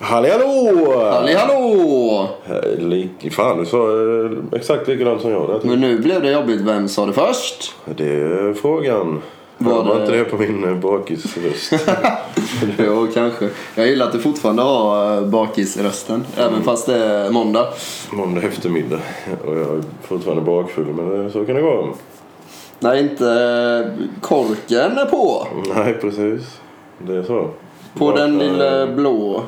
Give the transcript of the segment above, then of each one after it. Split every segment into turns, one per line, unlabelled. Halli hallå!
Halli hallå!
Lik, fan, du sa eh, exakt likadant som jag. Det,
Men nu blev det jobbigt. Vem sa det först?
det är frågan.
Var
Var
det-
inte det på min eh, bakisröst?
jo, kanske. Jag gillar att du fortfarande har eh, bakisrösten. Även fast det är måndag.
Måndag eftermiddag och jag är fortfarande bakfull men eh, så kan det gå.
När inte eh, korken är på.
Nej precis, det är så.
På den
Vaknade-
lilla blå.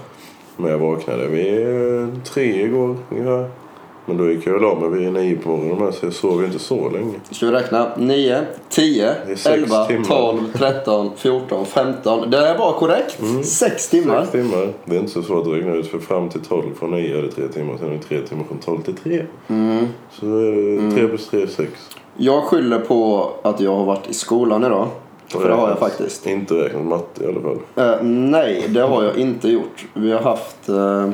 Men jag vaknade vid eh, tre igår ungefär. Men då gick jag väl av mig vid nio på morgonen med, så jag sov ju inte så länge.
Ska vi räkna? 9, 10,
Det är sex
11,
timmar.
12, 13, 14, 15. Det här var korrekt. Sex timmar.
Mm. Sex timmar. Det är inte så svårt att räkna ut för fram till 12 från 9 är det 3 timmar. Sen är det 3 timmar från 12 till 3.
Mm.
Så är det 3 plus 3 är 6.
Jag skyller på att jag har varit i skolan idag. För det har jag faktiskt.
Inte räknat matte i alla fall.
Eh, nej, det har jag inte gjort. Vi har haft eh,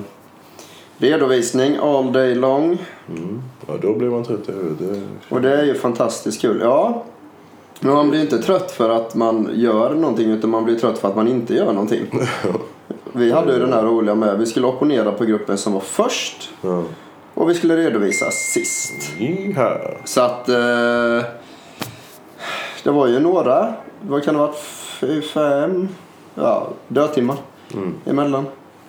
redovisning all day long.
Ja, då blir man trött i huvudet. Det-
Och det är ju fantastiskt kul. Ja, men man blir inte trött för att man gör någonting utan man blir trött för att man inte gör någonting. Vi hade ju den här roliga med. Vi skulle opponera på gruppen som var först
Ja.
och vi skulle redovisa sist.
Jiha.
Så att eh, det var ju några, vad kan det ha varit, f- fem ja, dödtimmar emellan.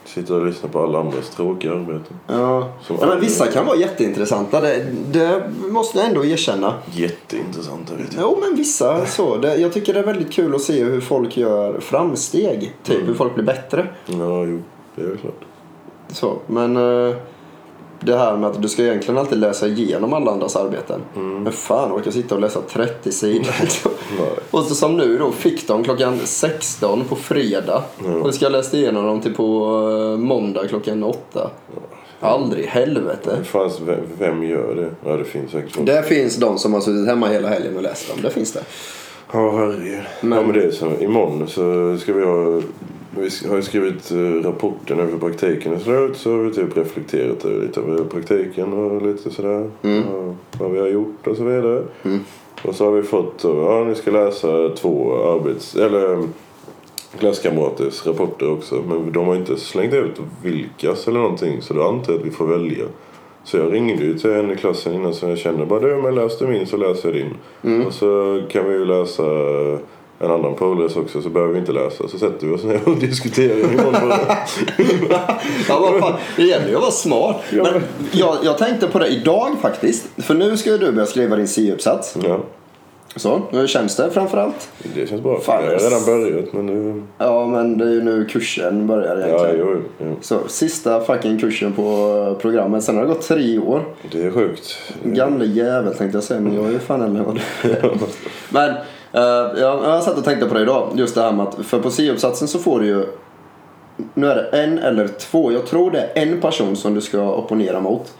Sitter och lyssnar på alla andras tråkiga arbeten.
Ja.
Som
Ja, men
aldrig-
vissa kan vara jätteintressanta, det, det måste jag ändå erkänna.
Jätteintressant jag vet jag.
Jo, men vissa så. Det, jag tycker det är väldigt kul att se hur folk gör framsteg, typ hur folk blir bättre.
Ja, jo. Det är väl klart.
Så, men eh, det här med att du ska egentligen alltid läsa igenom alla andras arbeten. Men fan orkar jag sitta och läsa 30 sidor? och så som nu då, fick de klockan 16 på fredag. Och ska jag läsa igenom dem till på eh, måndag klockan 8. Aldrig i helvete.
Det fanns, vem, vem gör det? Ja, det finns säkert folk.
Det finns de som har suttit hemma hela helgen och läst dem. Det finns det.
Ja, herregud.
Men-
Ja, men det är så. Imorgon så ska vi ha... Vi sk- har ju skrivit eh, rapporten över praktiken är slut så har vi typ reflekterat över lite över praktiken och lite sådär. Ja, vad vi har gjort och så vidare. Och så har vi fått... eh, Ja, ni ska läsa två arbets... Eller eh, klasskamraters rapporter också. Men de har inte slängt ut vilkas eller någonting så då antar jag att vi får välja. Så jag ringde ju till en i klassen innan så jag kände bara du men läs du min så läser jag din.
Mm.
Och så kan vi ju läsa en annan polares också så behöver vi inte läsa. Så sätter vi oss ner och diskuterar imorgon bara.
Ja, vad fan. Det gäller ju att vara smart. Men jag, jag tänkte på det idag faktiskt. För nu ska ju du börja skriva din C-uppsats.
Ja,
Så, hur känns det framförallt?
det känns bra.
Fan,
jag har redan börjat men nu...
Ja, men det är ju nu kursen börjar
Ja,
egentligen.
jo, jo, jo.
så, sista fucking kursen på eh, programmet. Sen har det gått tre år.
Det är sjukt.
Gamle jävel tänkte jag säga, men jag är ju fan äldre än vad du är. Men eh, jag, jag satt och tänkte på det idag. Just det här med att, för på C-uppsatsen så får du ju nu är det en eller två, jag tror det är en person som du ska opponera mot.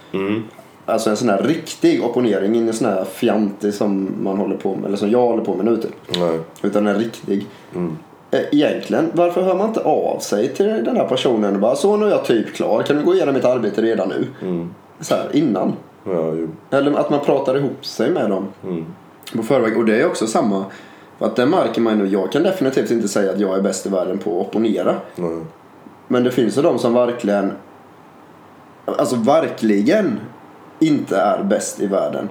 Alltså en sån här riktig opponering, ingen sån här fjantig som man håller på med, eller som jag håller på med nu typ.
Nej.
Utan en riktig. Eh, Egentligen, varför hör man inte av sig till den här personen och bara så nu är jag typ klar, kan du gå igenom mitt arbete redan nu? Så här innan.
Ja, jo. Mm,
Eller att man pratar ihop sig med dem på förväg. Och det är också samma. För att det märker man ju nu. Jag kan definitivt inte säga att jag är bäst i världen på att opponera.
Nej.
Men det finns ju de som verkligen, alltså verkligen inte är bäst i världen.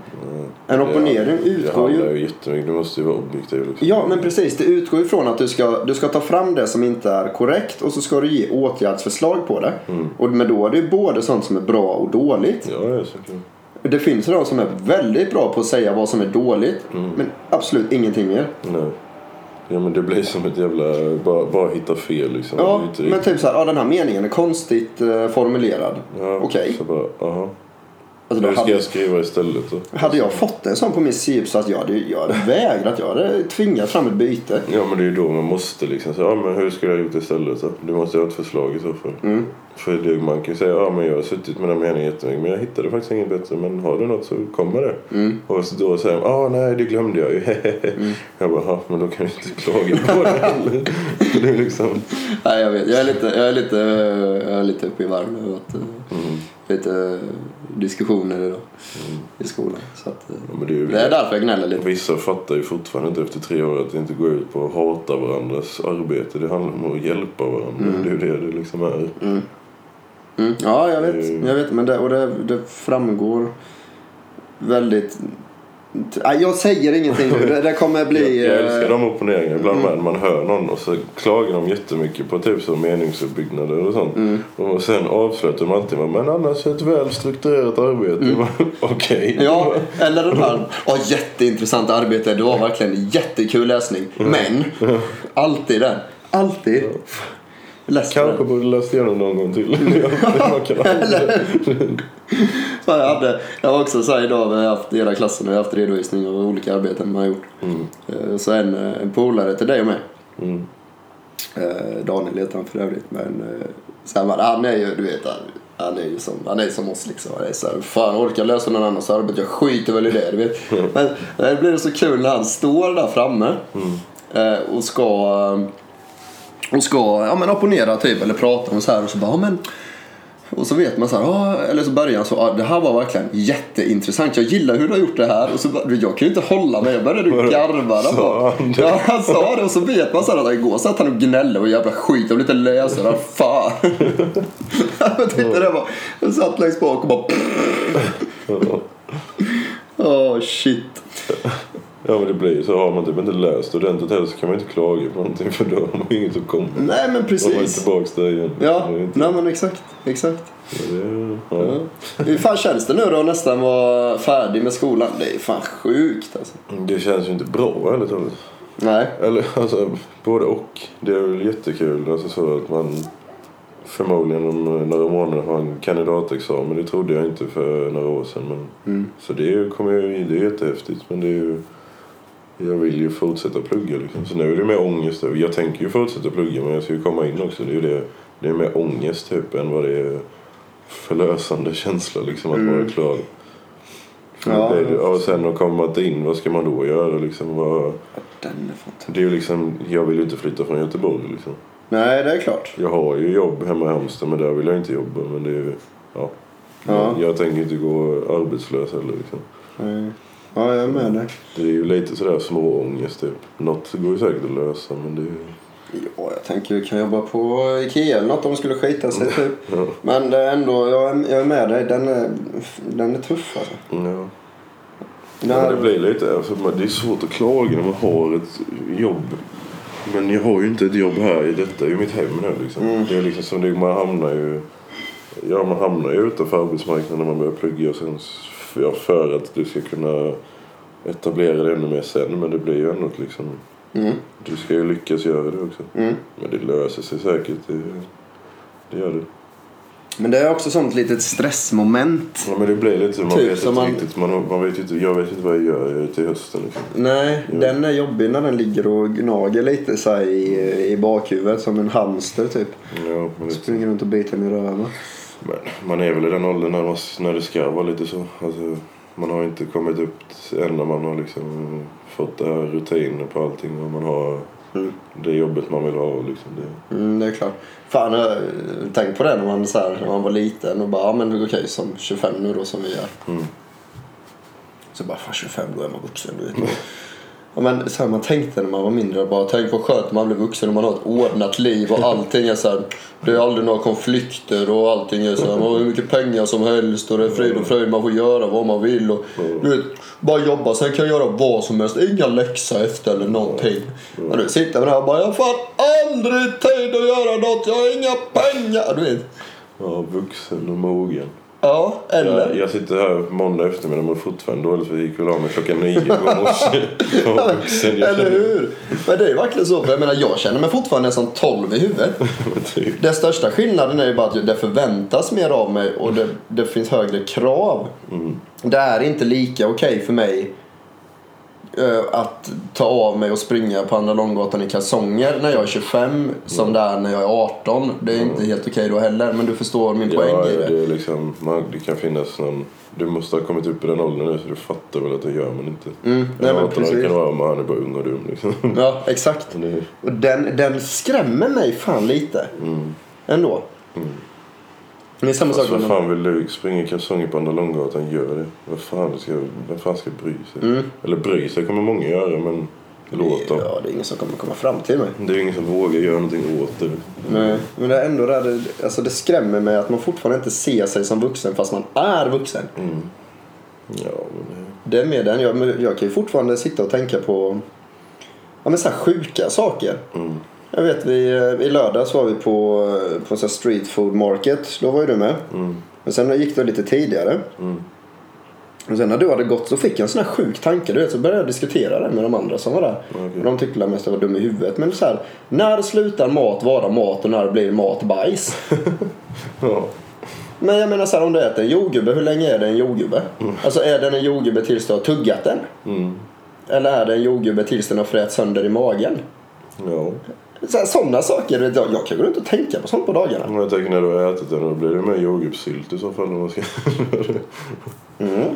En opponering
det, det
utgår
handlar
ju...
ju jättemycket. Du måste ju vara objektiv liksom.
Ja, men precis. Det utgår ju från att du ska, du ska ta fram det som inte är korrekt och så ska du ge åtgärdsförslag på det.
Mm.
Och, men då är det ju både sånt som är bra och dåligt.
Ja, det är såklart.
Det finns ju de som är väldigt bra på att säga vad som är dåligt men absolut ingenting mer.
Nej. Ja, men det blir som ett jävla... Bara, bara hitta fel liksom.
Ja,
Det är inte
men typ så här, ja, den här meningen är konstigt eh, formulerad.
Ja,
Okej.
Så bara, aha.
Alltså,
Hur
då
ska
hade,
jag skriva istället då?
hade jag fått en sån på min CIP så att jag hade, jag hade vägrat, jag hade tvingat fram ett byte.
Ja men det är ju då man måste liksom säga, ja men hur skulle jag gjort istället då? Du måste ha ett förslag i så fall.
Mm.
För det, man kan ju säga, ja men jag har suttit med den här meningen jättemycket men jag hittade faktiskt inget bättre men har du något så kommer det.
Mm.
Och så då säger de, ah nej det glömde jag ju. Jag bara, ja men då kan du inte klaga på det heller. det är liksom,
Nej, jag vet. Jag är lite, jag är lite, eh, jag är lite uppe i varv nu. Att, eh,
Mm.
Lite eh, diskussioner idag i skolan. Så att, eh,
ja, men det är ju,
det är därför jag gnäller lite.
Vissa fattar ju fortfarande inte efter tre år att det inte går ut på att hata varandras arbete. Det handlar om att hjälpa varandra. Det är ju det det liksom är.
Mm. Ja, jag vet.
Eh.
Jag vet men det, och det, det framgår väldigt... Nej, jag säger ingenting nu. Det, det kommer bli...
jag, jag älskar
eh, mm.
de opponeringarna ibland när man hör någon och så klagar de jättemycket på typ så meningsuppbyggnader och sånt.
Mm.
Och sen avslutar man alltid med men annars ett väl strukturerat arbete. Okej.
Mm. eh, Ja, eller den här. Ja, jätteintressant arbete. Det var verkligen jättekul läsning.
Mm.
Men, alltid den. Alltid. Läste den.
Kanske borde läst igenom någon gång till.
Mm.
Man kan aldrig-
Så jag, hade, jag var också så här idag, vi har haft, hela klassen har haft redovisning av olika arbeten man har gjort. Eh, Så en, eh, en polare till dig och mig.
Mm.
Eh, Daniel heter han för övrigt. Men eh, så han, bara, han är ju, du vet, han, han är ju som, han är som oss liksom. Han är så här, fan orkar lösa någon annans arbete, jag skiter väl i det. Du vet. Men det blir det så kul när han står där framme eh, och ska eh, och ska ja, men opponera typ eller prata om så här och så bara ja, men och så vet man så här, ah, eller så börjar han så, ah, det här var verkligen jätteintressant, jag gillar hur du har gjort det här. Och så bara, du, jag kan ju inte hålla mig, jag började garva där
Sa
bak.
han det?
Ja, han sa det och så vet man så här att igår satt han och gnällde och jävla skit, jag vill inte läsa det här, fan. jag tyckte det var, jag satt längst bak och bara, åh shit.
Ja men det blir ju så. Har man typ inte läst ordentligt heller så kan man inte klaga på någonting för då har man inget att komma med.
Nej men
Då är man
precis.
tillbaks där igen.
Ja,
Det är inte-
nej men exakt, exakt.
det- ja.
Hur fan känns det nu då att nästan vara färdig med skolan? Det är fan sjukt alltså.
Det känns ju inte bra ärligt talat.
Nej.
Eller alltså både och. Det är väl jättekul. Alltså så att man förmodligen om några månader har en kandidatexamen. Det trodde jag inte för några år sedan. Men... Så det är, ju- kommer ju, det är jättehäftigt. Men det är ju, jag vill ju fortsätta plugga liksom. Så nu är det mer ångest. över- Jag tänker ju fortsätta plugga men jag ska ju komma in också. Det är ju det, det är mer ångest typ än vad det är förlösande känsla liksom att vara klar.
Ja,
det, ja, och sen att komma in, vad ska man då göra liksom? Vad,
Den är fan tung.
det är ju liksom, jag vill ju inte flytta från Göteborg. Liksom.
Nej, det är klart.
Jag har ju jobb hemma i Halmstad men där vill jag inte jobba. Men det är ju, ja.
Ja.
Jag tänker inte gå arbetslös heller. Liksom.
Nej. Ja, jag är med dig.
Det är ju lite sådär små ångest typ. Något går ju säkert att lösa men det är ju...
Ja, jag tänker vi kan jobba på Ikea eller något om de skulle skita sig typ.
Ja.
Men det är ändå, jag är, jag är med dig. Den är, den är tuff alltså.
Ja.
Den
Ja, men det
är,
blir lite, alltså, man- det är svårt att klaga när man har ett jobb. Men jag har ju inte ett jobb här. Detta är ju mitt hem nu liksom.
Mm.
Det är liksom som det, man hamnar ju... Ja, man hamnar ju utanför arbetsmarknaden när man börjar plugga. Och sen, f- ja, för att du ska kunna etablera det ännu mer sen. Men det blir ju ändå ett, liksom...
mm,
Du ska ju lyckas göra det också.
mm.
Men det löser sig säkert. Det, det gör det.
Men det är också sånt litet stressmoment.
Ja men det blir lite så. Man
Typ
vet
som
inte
man-
riktigt. Man, man vet ju inte, jag vet inte vad jag gör till hösten. Liksom.
Nej,
Jo.
den är jobbig när den ligger och gnager lite så här, i, i bakhuvudet som en hamster typ.
Ja, man, vet,
Springer runt och biter den i röven.
men man är väl i den åldern när, man, när det ska vara lite så. Alltså, man har inte kommit upp än när man har liksom fått det här rutiner på allting. Och man har
Mm.
det jobbet man vill ha. Liksom. Det,
Mm, det är klart. Fan, jag har tänkt på det när man, så här, när man var liten och bara, ja men okej, som 25 nu då som vi är.
Mm.
Så bara, fan 25 då är man vuxen, du vet. Ja, men så här, man tänkte när man var mindre, bara tänk vad skönt när man blir vuxen och man har ett ordnat liv och allting är så här, det är aldrig några konflikter och allting är så här, man har hur mycket pengar som helst och det är frid och fröjd, man får göra vad man vill och du vet, bara jobba, sen kan jag göra vad som helst, inga läxor efter eller någonting. Men nu sitter man här och bara, jag har fan aldrig tid att göra något, jag har inga pengar, du vet.
ja, vuxen och mogen.
Ja, eller?
Jag, jag sitter här måndag eftermiddag och mår fortfarande dåligt för jag gick och la mig klockan nio i morse. Jag var vuxen. Jag
Eller
känner
hur? Men det är ju verkligen så. För jag menar, jag känner mig fortfarande som 12 i huvudet.
typ.
Den största skillnaden är ju bara att det förväntas mer av mig och det, det finns högre krav.
Mm.
Det är inte lika okej för mig eh, att ta av mig och springa på Andra Långgatan i kalsonger när jag är 25
Mm.
som det är när jag är 18. Det är inte helt okej då heller, men du förstår min poäng
Ja,
i
ja,
det.
det är liksom, man, det kan finnas någon... Du måste ha kommit upp i den åldern nu så du fattar väl att det gör man inte.
Mm, nej, men
Det
precis.
kan vara, man är bara ung och dum liksom.
Ja, exakt.
Men det-
Och den, den skrämmer mig fan lite. Ändå. Det är samma sak
Alltså,
med
Mm. vad fan vill du springa i kalsonger på Andra Långgatan? Gör det. Vad fan ska, vem fan ska bry sig? Eller bry sig kommer många göra men låta.
Mm. Ja, det är ingen som kommer komma fram till mig.
Det är ju ingen som vågar göra någonting åt det.
Nej, men det är ändå där, det- alltså det skrämmer mig att man fortfarande inte ser sig som vuxen fast man är vuxen.
Mm. Ja, men det...
Det är med den. Jag, men jag kan ju fortfarande sitta och tänka på ja, men så här sjuka saker.
Mm.
Jag vet, vi, eh, i lördags var vi på, eh, på en sån här street food market. Då var ju du med.
Mm.
Men sen gick det lite tidigare.
Mm.
Och sen när du hade gått så fick jag en sån här sjuk tanke. Du vet, så började jag diskutera det med de andra som var där.
Okej.
Och de tyckte väl mest att jag var dum i huvudet. Men så här, när slutar mat vara mat och när blir mat bajs?
Ja.
Men jag menar så här, om du äter en jordgubbe, hur länge är det en jordgubbe? Alltså är den en jordgubbe tills du har tuggat den?
Mm.
Eller är det en jordgubbe tills den har frätt sönder i magen?
Ja.
Så här, Sådana saker. vet Jag jag kan gå runt och tänka på sånt på dagarna.
Men jag tänker när du har ätit den då blir det mer jordgubbssylt i så fall. Om man ska...
Mm.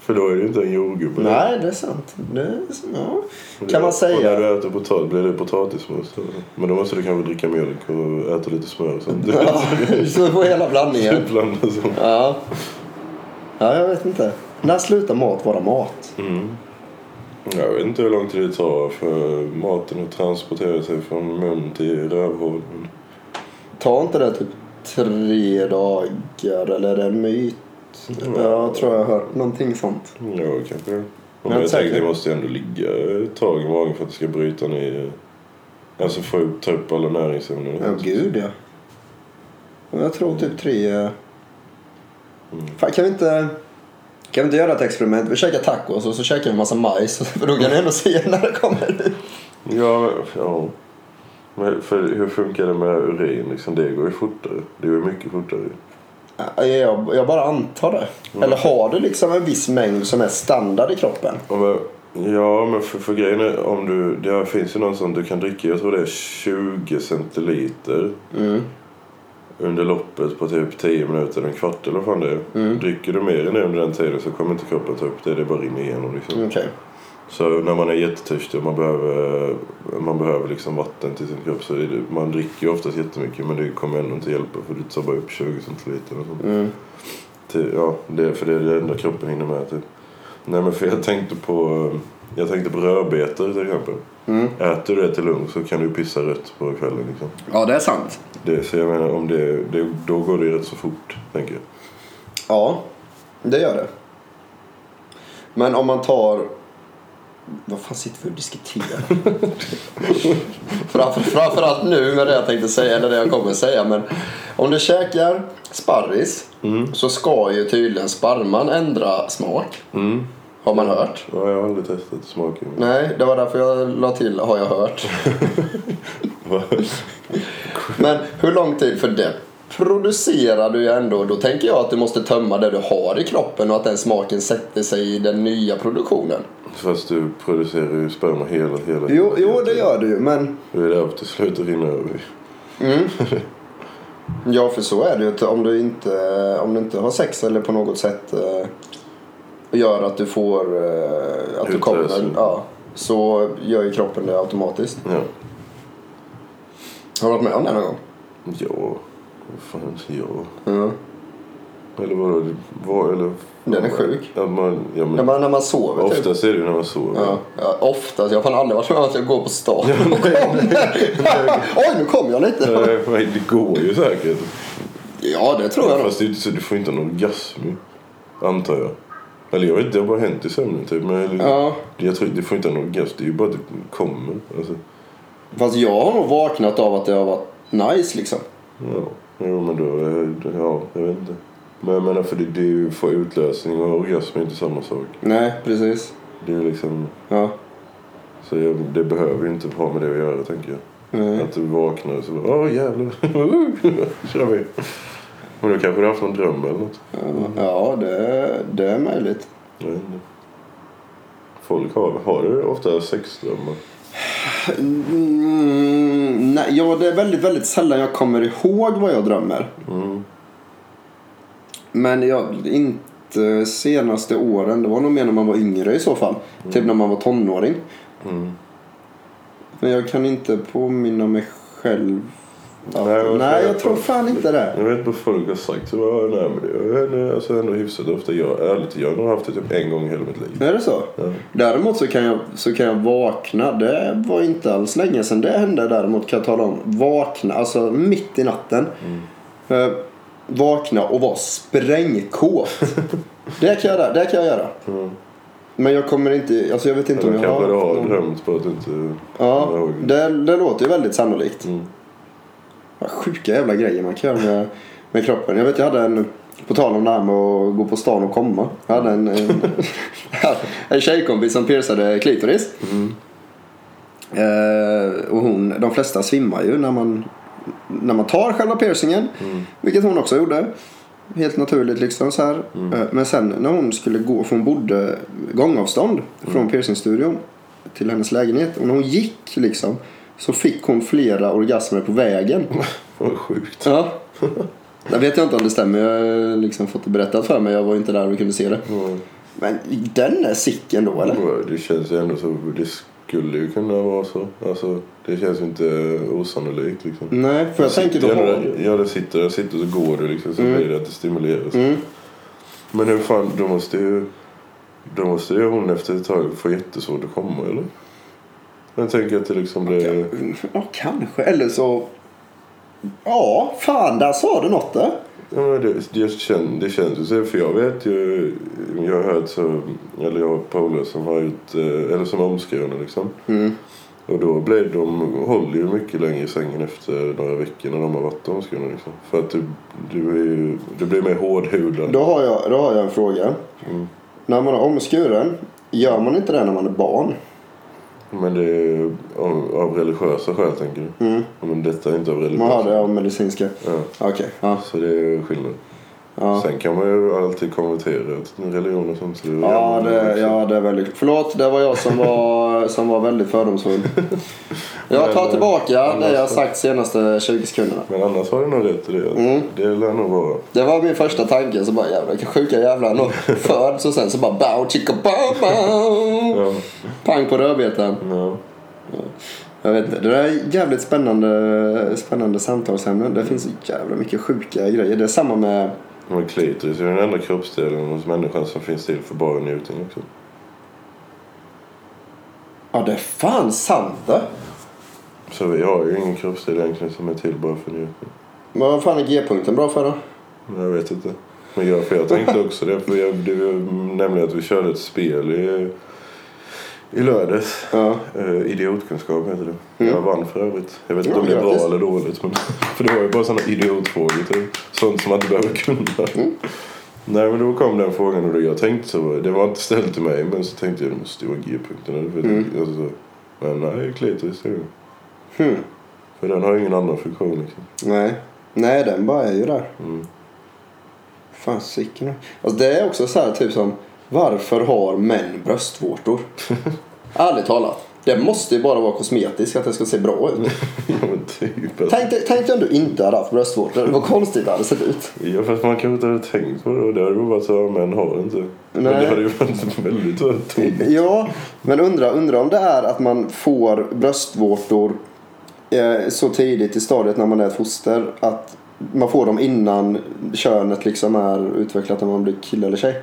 För då är det ju inte en jordgubbe.
Nej, det är sant. Det är, ja.
Det-
Kan man
Och när
säga...
du äter potatis blir det potatismos. Men då måste du kanske dricka mjölk och äta lite smör och sånt.
Ja, så vi får hela blandningen.
Blanda sånt.
Ja. ja, jag vet inte. När slutar mat vara mat?
Mm. Jag vet inte hur lång tid det tar för maten att transportera sig från mun till rövhålen.
Ta inte det typ tre dagar eller är det en myt? Jag tror jag har hört någonting sånt.
Ja, kanske det.
Men
Men jag
säkert.
tänkte det måste ju ändå ligga ett tag i magen för att det ska bryta ner. Alltså få upp, ta upp alla näringsämnen.
Ja, gud ja. Men Jag tror typ tre... Fan, kan vi inte... Kan vi inte göra ett experiment? Vi käkar tacos och så käkar vi en massa majs. För då kan jag ändå se när det kommer.
Ja, ja. Men för hur funkar det med urin? Liksom, det går ju fortare. Det går ju mycket fortare.
Ja, Jag, jag bara antar det. Eller har du liksom en viss mängd som är standard i kroppen?
Ja, men, ja, men för, för grejen är om du... Det finns ju någon som du kan dricka, jag tror det är 20 centiliter
Mm.
under loppet på typ 10 minuter, en kvart eller vad fan det är.
Mm.
Dricker du mer än det under den tiden så kommer inte kroppen ta upp det. Det bara rinner igenom liksom.
Okej.
Så när man är jättetörstig och man behöver, man behöver liksom vatten till sin kropp så är det, man dricker ju oftast jättemycket men det kommer ändå inte hjälpa för du tar bara upp 20 centiliter och sånt.
Mm.
Till, ja, det, för det är det enda kroppen hinner med typ. Nej men för jag tänkte på, eh, jag tänkte på rödbetor till exempel.
Mm.
Äter du det till lunch så kan du pissa rött på kvällen liksom.
Ja, det är sant.
Det, så jag menar om det, det, då går det ju rätt så fort tänker jag.
Ja, det gör det. Men om man tar... Vad fan sitter vi och diskuterar? Framför, framförallt nu med det jag tänkte säga, eller det jag kommer säga. Men om du käkar sparris så ska ju tydligen sparman ändra smak.
Mm.
Har man hört.
Ja, jag har aldrig testat smaken.
Nej, det var därför jag la till har jag hört.
Va?
Men hur lång tid för det producerar du ju ändå. Då tänker jag att du måste tömma det du har i kroppen och att den smaken sätter sig i den nya produktionen.
Fast du producerar ju sperma hela, hela
Jo, jo det gör du ju, men...
Det är därför till slut det rinner över.
Ja, för så är det ju. att Om du inte, om du inte har sex eller på något sätt eh, gör att du får... Eh, att du kommer,
Utlösning.
ja, så gör ju kroppen det automatiskt.
Ja.
Har du varit med om det någon gång?
Ja. Vad fan, ja.
Mm.
Eller vadå? det- Vad, eller?
Den är sjuk.
Att man, ja,
När
men,
man, när man sover typ.
oftast är det ju när man sover.
Ja, ja, oftast. Jag har fan aldrig varit med om att jag går på stan och kommer. Oj, nu kom jag lite.
Nej, men Det går ju säkert.
Ja, det tror jag nog.
Fast det, är inte så- du får inte någon orgasm ju. Antar jag. Eller jag vet inte, det har bara hänt i sömnen typ. Men eller,
Ja.
jag tror, du får inte någon orgasm. Det är ju bara att du kommer. Alltså,
Fast jag har nog vaknat av att det har varit nice liksom.
ja. Jo men då, eh, ja, jag vet inte. Men jag menar för det, det är ju för utlösning och orgasm är inte samma sak.
Nej, precis.
Det är ju liksom...
Ja.
Så jag, det behöver ju inte ha med det att göra, tänker jag.
Nej.
Att du vaknar och så bara, åh jävlar, kör vi. Men då kanske du har haft någon dröm eller något.
Ja, det, det är möjligt.
Jag vet inte. Folk har, har du ofta sexdrömmar?
Mm, nej, ja, det är väldigt, väldigt sällan jag kommer ihåg vad jag drömmer.
Mm.
Men jag, inte senaste åren. Det var nog mer när man var yngre i så fall. Typ när man var tonåring.
Mm.
Men jag kan inte påminna mig själv Ja.
Nej,
Nej,
men-
jag tror fan inte det.
Jag vet vad folk har sagt. Så bara, nej, men det är ändå- alltså, ändå hyfsat ofta. Jag, ärligt, jag har nog haft det typ en gång i hela mitt liv.
Är det så?
Ja.
Däremot så kan, jag, så kan jag vakna. Det var inte alls länge sedan det hände. Däremot kan jag tala om vakna, alltså mitt i natten. Eh, vakna och vara sprängkåt. det, kan jag, göra- det kan jag göra. Men jag kommer inte, alltså jag vet inte om
Eller
jag
kanske du har
någon-
drömt på att du inte... kommer
Ja,
ihåg
det, det låter ju väldigt sannolikt.
Mm.
Vad sjuka jävla grejer man kan göra med, med kroppen. Jag vet jag hade en, på tal om det här med att gå på stan och komma. Jag hade en, en, en tjejkompis som piercade klitoris. Eh, och hon, de flesta svimmar ju när man, när man tar själva piercingen. Vilket hon också gjorde. Helt naturligt liksom så här. Eh, Men sen när hon skulle gå, för hon bodde gångavstånd från piercingstudion till hennes lägenhet. Och när hon gick liksom så fick hon flera orgasmer på vägen.
Fan vad sjukt.
Ja. Jag vet jag inte om det stämmer. Jag har liksom fått det berättat för mig. Jag var inte där och kunde se det.
Ja.
Men den är sick ändå eller?
Det känns ju ändå så. Det skulle ju kunna vara så. Alltså, det känns ju inte osannolikt liksom.
Nej, för jag tänker
Sitter
då Mm.
jag
har
nu-
du.
Ja, det sitter jag sitter så går det liksom. Så blir det att det stimuleras.
Mm.
Men hur fan, då måste ju... Då måste ju hon efter ett tag få jättesvårt att komma, eller? Jag tänker att det liksom blir...
Ja, kanske. Eller så... Ja, fan där sa du något eh. där.
Ja, men det, det, kän, det känns ju så. För jag vet ju... Jag har hört så... Eller jag har polare som har gjort... eh, Eller som är omskurna liksom.
Mm.
Och då blir de... håller ju mycket längre i sängen efter några veckor när de har varit omskurna liksom. För att du, du är ju... Du blir mer hårdhudad.
Då har jag, då har jag en fråga. När man är omskuren, gör man inte det när man är barn?
Men det är av, av religiösa skäl tänker du? Mm. Men detta är inte av religiösa
Man har det av medicinska.
Ja.
Okej. Ja.
Så det är skillnad.
Ja.
Sen kan man ju alltid konvertera till religion och sånt. Så det är
Ja,
jävla-
det, ja, det är väldigt... Förlåt, det var jag som var, som var väldigt fördomsfull. Jag tar tillbaka det jag sagt senaste 20 sekunderna.
Men annars har du nog rätt i det.
Mm.
Det lär nog vara.
Det var min första tanke. Så bara jävlar, vilka sjuka jävlar. Någon föds och sen så bara bow, chicka bow, bow.
Ja.
Pang på rödbetan.
Ja.
Jag vet inte. Det där är jävligt spännande, spännande samtalsämnen. Det finns så jävla mycket sjuka grejer. Det är samma med...
Men klitoris är den enda kroppsdelen hos människan som finns till för bara njutning också.
Ja, det är fan sant det.
Så vi har ju ingen kroppsdel egentligen som är till bara för njutning.
Men vad fan är G-punkten bra för då?
Men Jag vet inte. Men jag, för jag tänkte också det. För jag, det var nämligen att vi körde ett spel i, i lördags.
Ja.
Eh, idiotkunskap heter det. Jag vann för övrigt. Jag vet inte
Mm. Ja,
om det är bra
grattis.
eller dåligt. Men, för det var ju bara sådana idiotfrågor. Typ. Sånt som man inte behöver kunna.
Mm.
Nej men då kom den frågan och då jag tänkte så. Det var inte ställt till mig men så tänkte jag det måste ju vara G-punkten. eller? För
Mm.
det- Alltså, så. men nej, klitoris är det.
Hm.
För den har ingen annan funktion liksom.
Nej. Nej, den bara är ju där.
Mm.
Fan, sicken. Alltså det är också så här typ som... Varför har män bröstvårtor? Ärligt talat. Det måste ju bara vara kosmetiskt att det ska se bra ut.
ja men typ. alltså.
Tänk dig, tänk dig om du inte hade haft bröstvårtor. Vad konstigt det hade sett ut.
Ja fast man kanske inte hade tänkt på det. Och det hade ju varit så här, män har inte. Men
Nej.
det hade ju varit väldigt så här tomt.
Ja, men undra, undra om det är att man får bröstvårtor eh, så tidigt i stadiet när man är ett foster att man får dem innan könet liksom är utvecklat när man blir kille eller tjej.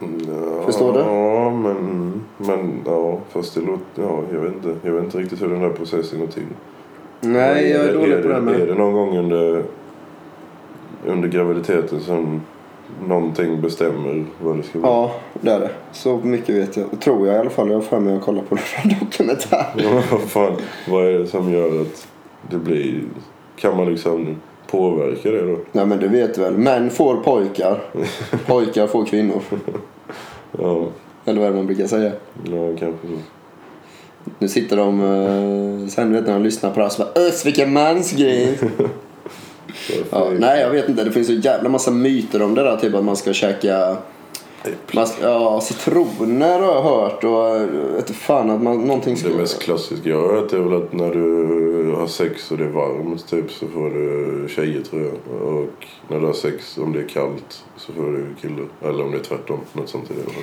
Ja,
Förstår du?
Ja, men, men ja, fast det låter... Ja, jag vet inte. Jag vet inte riktigt hur den där processen går till.
Nej,
Är- är det- Är det någon gång under, under graviditeten som någonting bestämmer vad det ska vara?
Ja, det är det. Så mycket vet jag. Tror jag i alla fall. Jag har för mig att kolla på den här dokumentären.
Ja, men vad fan, vad är det som gör att det blir... Kan man liksom påverka det då?
Nej, men du vet väl. Män får pojkar. Pojkar får kvinnor.
Ja,
Eller vad är det man brukar säga.
ja kanske så.
Nu sitter de... Eh, sen vet när de lyssnar på det här så bara Öss vilken mansgrej! Ja, nej, jag vet inte. Det finns ju en jävla massa myter om det där. Typ att man ska käka man, ska- ja, citroner har jag hört. Och eh, vet du fan att man någonting ska...
Det mest klassiska jag har hört är väl att när du har sex och det är varmt typ så får du tjejer tror jag. Och när du har sex om det är kallt så får du killar. Eller om det är tvärtom. Något sånt i det i alla fall.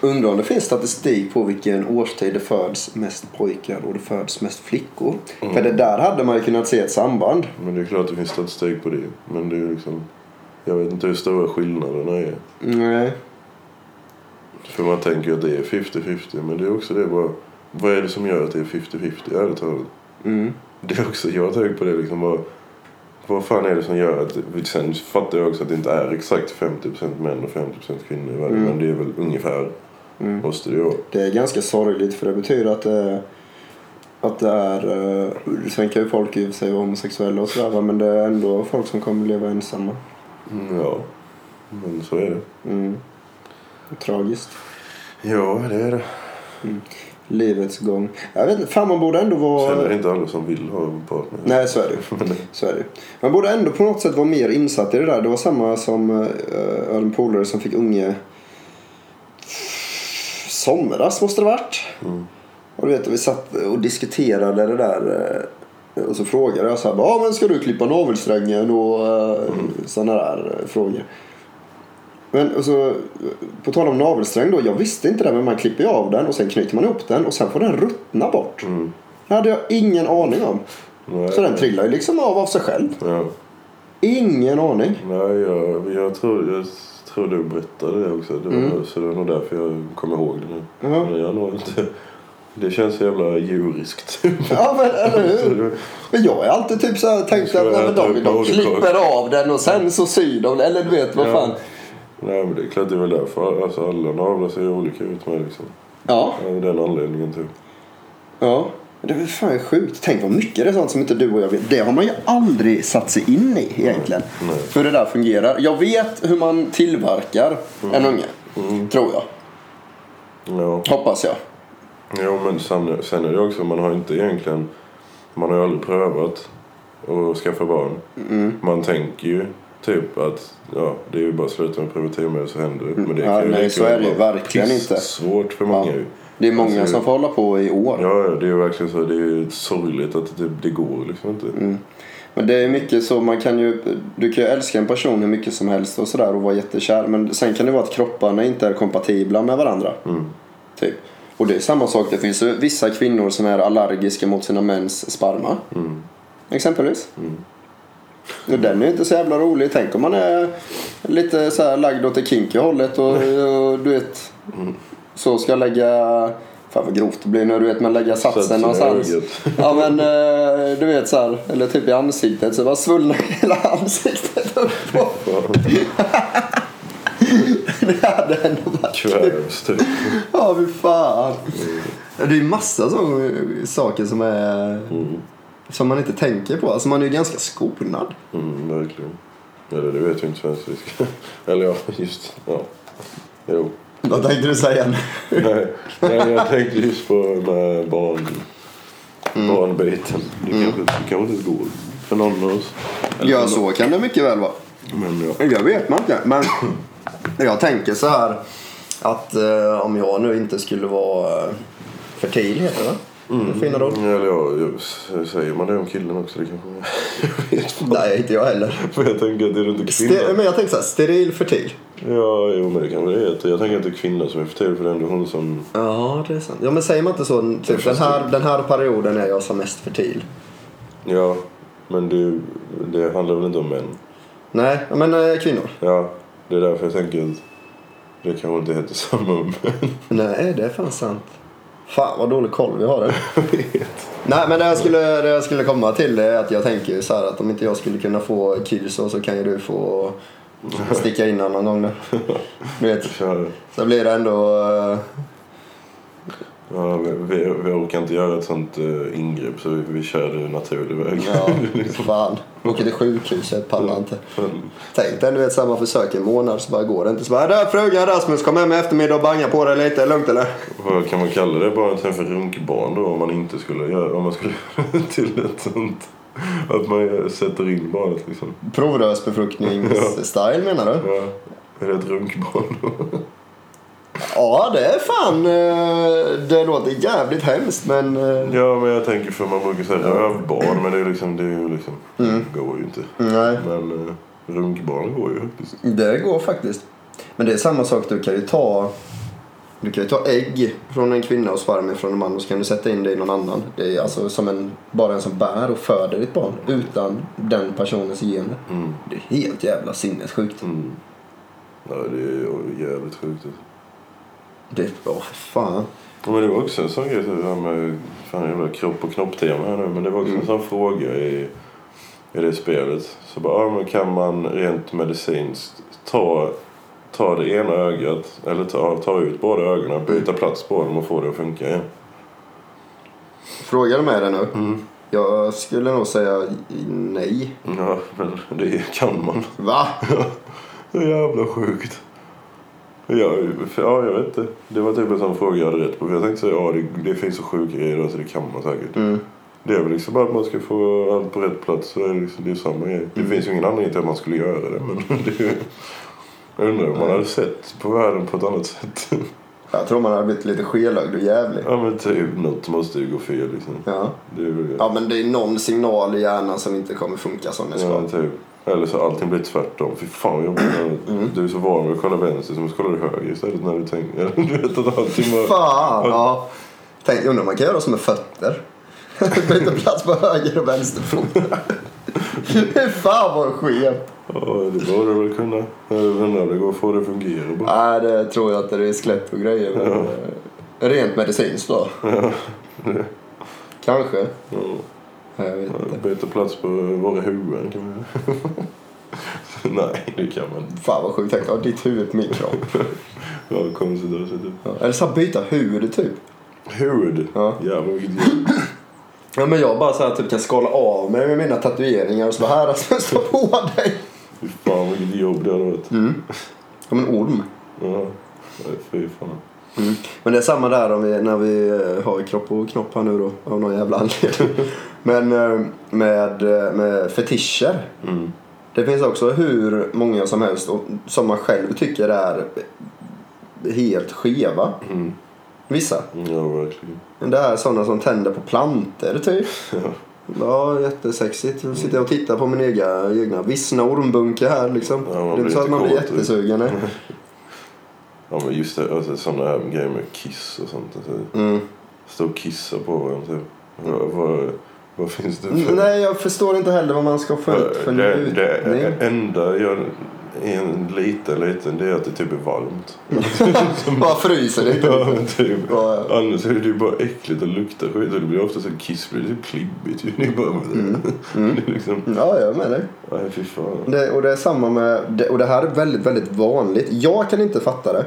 Undrar om det finns statistik på vilken årstid det föds mest pojkar och det föds mest flickor.
Mm.
För det där hade man ju kunnat se ett samband.
Men det är klart att det finns statistik på det. Men det är ju liksom... Jag vet inte hur stora skillnaderna är.
Nej.
För man tänker ju att det är 50-50. Men det är också det bara... Vad är det som gör att det är 50-50 ärligt talat?
Mm.
Det är också... Jag tänker på det liksom bara... Vad fan är det som gör att... Sen fattar jag också att det inte är exakt 50% män och 50% kvinnor i världen.
Mm.
Men det är väl ungefär.
Mm.
Måste det ju vara.
Det är ganska sorgligt för det betyder att det, att det är... eh, Sen kan ju folk i och för sig vara homosexuella och sådär va, men det är ändå folk som kommer leva ensamma.
Mm, ja. Men så är det.
Mm. Tragiskt.
Ja, det är det.
Livets gång. Jag vet inte, fan man borde ändå vara...
Sen är det inte alla som vill ha en partner.
Nej, så är det ju. Så är det. ju. Man borde ändå på något sätt vara mer insatt i det där. Det var samma som eh, jag hade en polare som fick unge somras måste det varit.
Mm.
Och du vet, vi satt och diskuterade det där. eh, Och så frågade jag så här, ja men ska du klippa navelsträngen och mm. sådana där eh, frågor. Men och så, eh, på tal om navelsträng då, jag visste inte det men man klipper ju av den och sen knyter man ihop den och sen får den ruttna bort.
Mm.
Det hade jag ingen aning om.
Nej.
Så den trillar ju liksom av av sig själv.
Ja.
Ingen aning.
Nej, jag, jag, tror, jag tror du berättade det också. Det var, Så det var nog därför jag kom ihåg det nu.
Ja.
Men jag har nog inte... Det känns så jävla djuriskt.
Ja men eller hur? Men jag har alltid typ så här tänkt
Ska
att
jag
nej, men
äta
de,
upp
de
badkaret?
klipper av den och sen så syr de den. Eller du vet vad
Ja.
fan.
Nej, men det är klart det är väl därför. Alltså, alla navlar ser ju olika ut med liksom.
Ja.
Av den anledningen typ.
Ja. Det är väl fan sjukt. Tänk vad mycket det är sånt som inte du och jag vet. Det har man ju aldrig satt sig in i egentligen.
Nej.
Hur det där fungerar. Jag vet hur man tillverkar en
Mm.
unge. Tror jag.
Ja.
Hoppas jag.
Jo, men sen, sen är det också, man har ju inte egentligen... Man har ju aldrig prövat att skaffa barn.
Mm.
Man tänker ju typ att ja, det är ju bara att sluta med preventivmedel så händer det. Men det
Mm. Ja,
kan ju
nej,
lika
så
väl
är det ju
vara
verkligen inte.
svårt för många ju.
Det är många
Alltså,
som får hålla på i år.
Ja, ja, det är ju verkligen så. Det är ju sorgligt att det, det går liksom inte.
Mm. Men det är mycket så, man kan ju, du kan ju älska en person hur mycket som helst och sådär och vara jättekär. Men sen kan det vara att kropparna inte är kompatibla med varandra. Typ. Och det är samma sak, det finns ju vissa kvinnor som är allergiska mot sina mäns sperma. Exempelvis. Och den är ju inte så jävla rolig. Tänk om man är lite så här lagd åt det kinky hållet och, och du vet. Så ska jag lägga, fan vad grovt det blir nu, du vet man lägger satsen,
Satsen i
någonstans.
ögat.
Ja men eh, du vet så här, eller typ i ansiktet så bara svullnar hela ansiktet upp. Det hade ändå varit kul.
Kvävs typ.
Ja fy fan. Ja, Det är ju massa så, saker som är som man inte tänker på. Alltså man är ju ganska skonad.
Mm, verkligen. Eller det vet ju inte svensk Eller ja, just ja. Jo.
Vad tänkte du säga nu?
Nej, nej, jag tänkte just på den här barn, barnbiten. Det kanske, det kanske inte går för någon av oss. Eller
Ja
för någon-
så kan det mycket väl vara.
Men ja.
Jag vet man inte. Men jag tänker så här att eh, om jag nu inte skulle vara eh, fertil heter det va? Mm. Fina ord.
Eller ja, jag s- säger man det om killen också? Det kanske Jag vet inte.
Nej inte jag heller.
För jag tänker att det är inte
Ste-
kvinnan.
men jag tänker så här, steril fertil.
Ja, jo men det kanske det heter. Jag tänker att det är kvinnan som är fertil för det är ändå hon som...
Ja, det är sant. Ja, men säger man inte så? Typ, den, här, den här perioden är jag som mest fertil.
Ja, men det, det handlar väl inte om män?
Nej, ja, men eh, kvinnor.
Ja, det är därför jag tänker att det kanske inte heter samma om män.
Nej, det är fan sant. Fan vad dålig koll vi har. där.
vet.
Nej, men det jag, skulle, det jag skulle komma till är att jag tänker ju så här att om inte jag skulle kunna få Kyrso så kan ju du få sticka in någon gång nu. Du vet,
Kör.
så blir det ändå... eh,
Ja, vi, vi, vi orkar inte göra ett sånt eh, ingrepp så vi, vi kör det naturlig väg.
Ja, fan. Åker till sjukhuset, pallar inte. Tänk dig, du vet samma försök i en månad så bara går det inte. Så bara, där frugan Rasmus, kom hem i eftermiddag och banga på dig lite, är det lugnt eller?
Vad kan man kalla det bara sen för runkbarn då om man inte skulle göra, om man skulle göra till ett sånt att man gör- sätter in barnet liksom.
Provrörsbefruktningsstyle menar du?
Ja. Är det ett runkbarn då?
Ja, det är fan... eh, Det låter jävligt hemskt men... eh,
Ja men jag tänker för man brukar säga rövbarn men det är liksom, det är ju liksom, går ju inte.
Nej,
Men eh, runkbarn går ju faktiskt.
det går faktiskt. Men det är samma sak, du kan ju ta... Du kan ju ta ägg från en kvinna och spermier från en man och så kan du sätta in det i någon annan. Det är alltså som en, bara en som bär och föder ditt barn utan den personens gener.
Mm.
Det är helt jävla sinnessjukt.
Mm. Ja, det är ju jävligt sjukt. alltså.
Det, åh för fan.
Ja, Men det var också en sån grej, så det här med fan, jävla kropp och knopp-tema här nu. Men det var också en sån fråga i, i det spelet. Så bara, ja, men kan man rent medicinskt ta, ta det ena ögat, eller ta, ta ut båda ögonen, byta plats på dem och få det att funka igen?
Frågar du mig det nu?
Mm.
Jag skulle nog säga nej.
Ja, men det kan man.
Va?
Så jävla sjukt. Ja, för- ja, jag vet inte. Det var typ en sån fråga jag hade rätt på. För jag tänkte så ja det, det finns så sjuka grejer då, så det kan man säkert.
Mm.
Det är väl liksom bara att man ska få allt på rätt plats. Så är det, liksom, det är samma grej. Det finns ju ingen anledning till att man skulle göra det. Men det är ju... Jag undrar om man hade sett på världen på ett annat sätt.
Jag tror man hade blivit lite skelögd och jävlig.
ja men typ något måste ju gå fel liksom.
Ja.
Det är väl
ja, men det är någon signal i hjärnan som inte kommer funka som den ska.
Ja, typ. Eller så har allting blir tvärtom. Fy fan vad jobbigt.
Mm.
Du är så van vid att kolla vänster så måste kolla du höger istället när du tänker. Du vet att allting bara...
Fan! Ja. Tänk, undrar om man kan göra så med fötter? Byta plats på höger och vänster fot. Fan vad skevt!
Ja, det borde du väl kunna. Jag undrar om det går att få det att fungera bara.
Nej, det tror jag att det är skelett och grejer. Men, eh, Rent medicinskt då? Kanske.
Ja,
Nej, Jag vet inte.
byta plats på våra huvuden kan man göra. Nej, det kan man inte.
Fan vad sjukt. Tänk, ja, ditt huvud på min kropp.
Ja, konstigt alltså. Typ.
Ja. Eller så här, byta huvud typ.
Huvud!
Ja.
Jävlar vilket jobb.
Ja, men jag bara så här, typ kan skala av mig med mina tatueringar och så bara här alltså, stå på dig.
Fy fan vilket jobb det hade varit.
Som en Mm. orm.
Ja, nej, fy fan.
Mm. Men det är samma där om vi, när vi eh, har kropp och knopp här nu då av någon jävla anledning. Men eh, med, eh, med fetischer.
Mm.
Det finns också hur många som helst och som man själv tycker är helt skeva.
Mm.
Vissa.
Ja, verkligen.
Men Det är sådana som tänder på planter typ. Ja, jättesexigt. Nu sitter jag och tittar på min egna, egna vissna ormbunke här liksom.
Ja, man
det är
blir
inte så att
lite
man blir
kåt, typ.
jättesugen. nej.
Ja, men just det. Alltså, sådana här grejer med kiss och sånt. Alltså.
Mm.
Stå och kissa på varandra typ. Vad, vad, vad finns det för...
Nej, jag förstår inte heller vad man ska få ut för
det, det
njutning.
enda jag är en liten, liten, det är att det typ är varmt.
Bara fryser lite.
Ja, men typ.
Ja, ja.
Annars är det ju bara äckligt och luktar skit. Och det blir ofta så kiss blir typ klibbigt ju. Det är bara...
Mm.
Det är liksom...
Ja, jag är med dig.
Nej, fy fan.
Det, och det är samma med, det, och det här är väldigt, väldigt vanligt. Jag kan inte fatta det.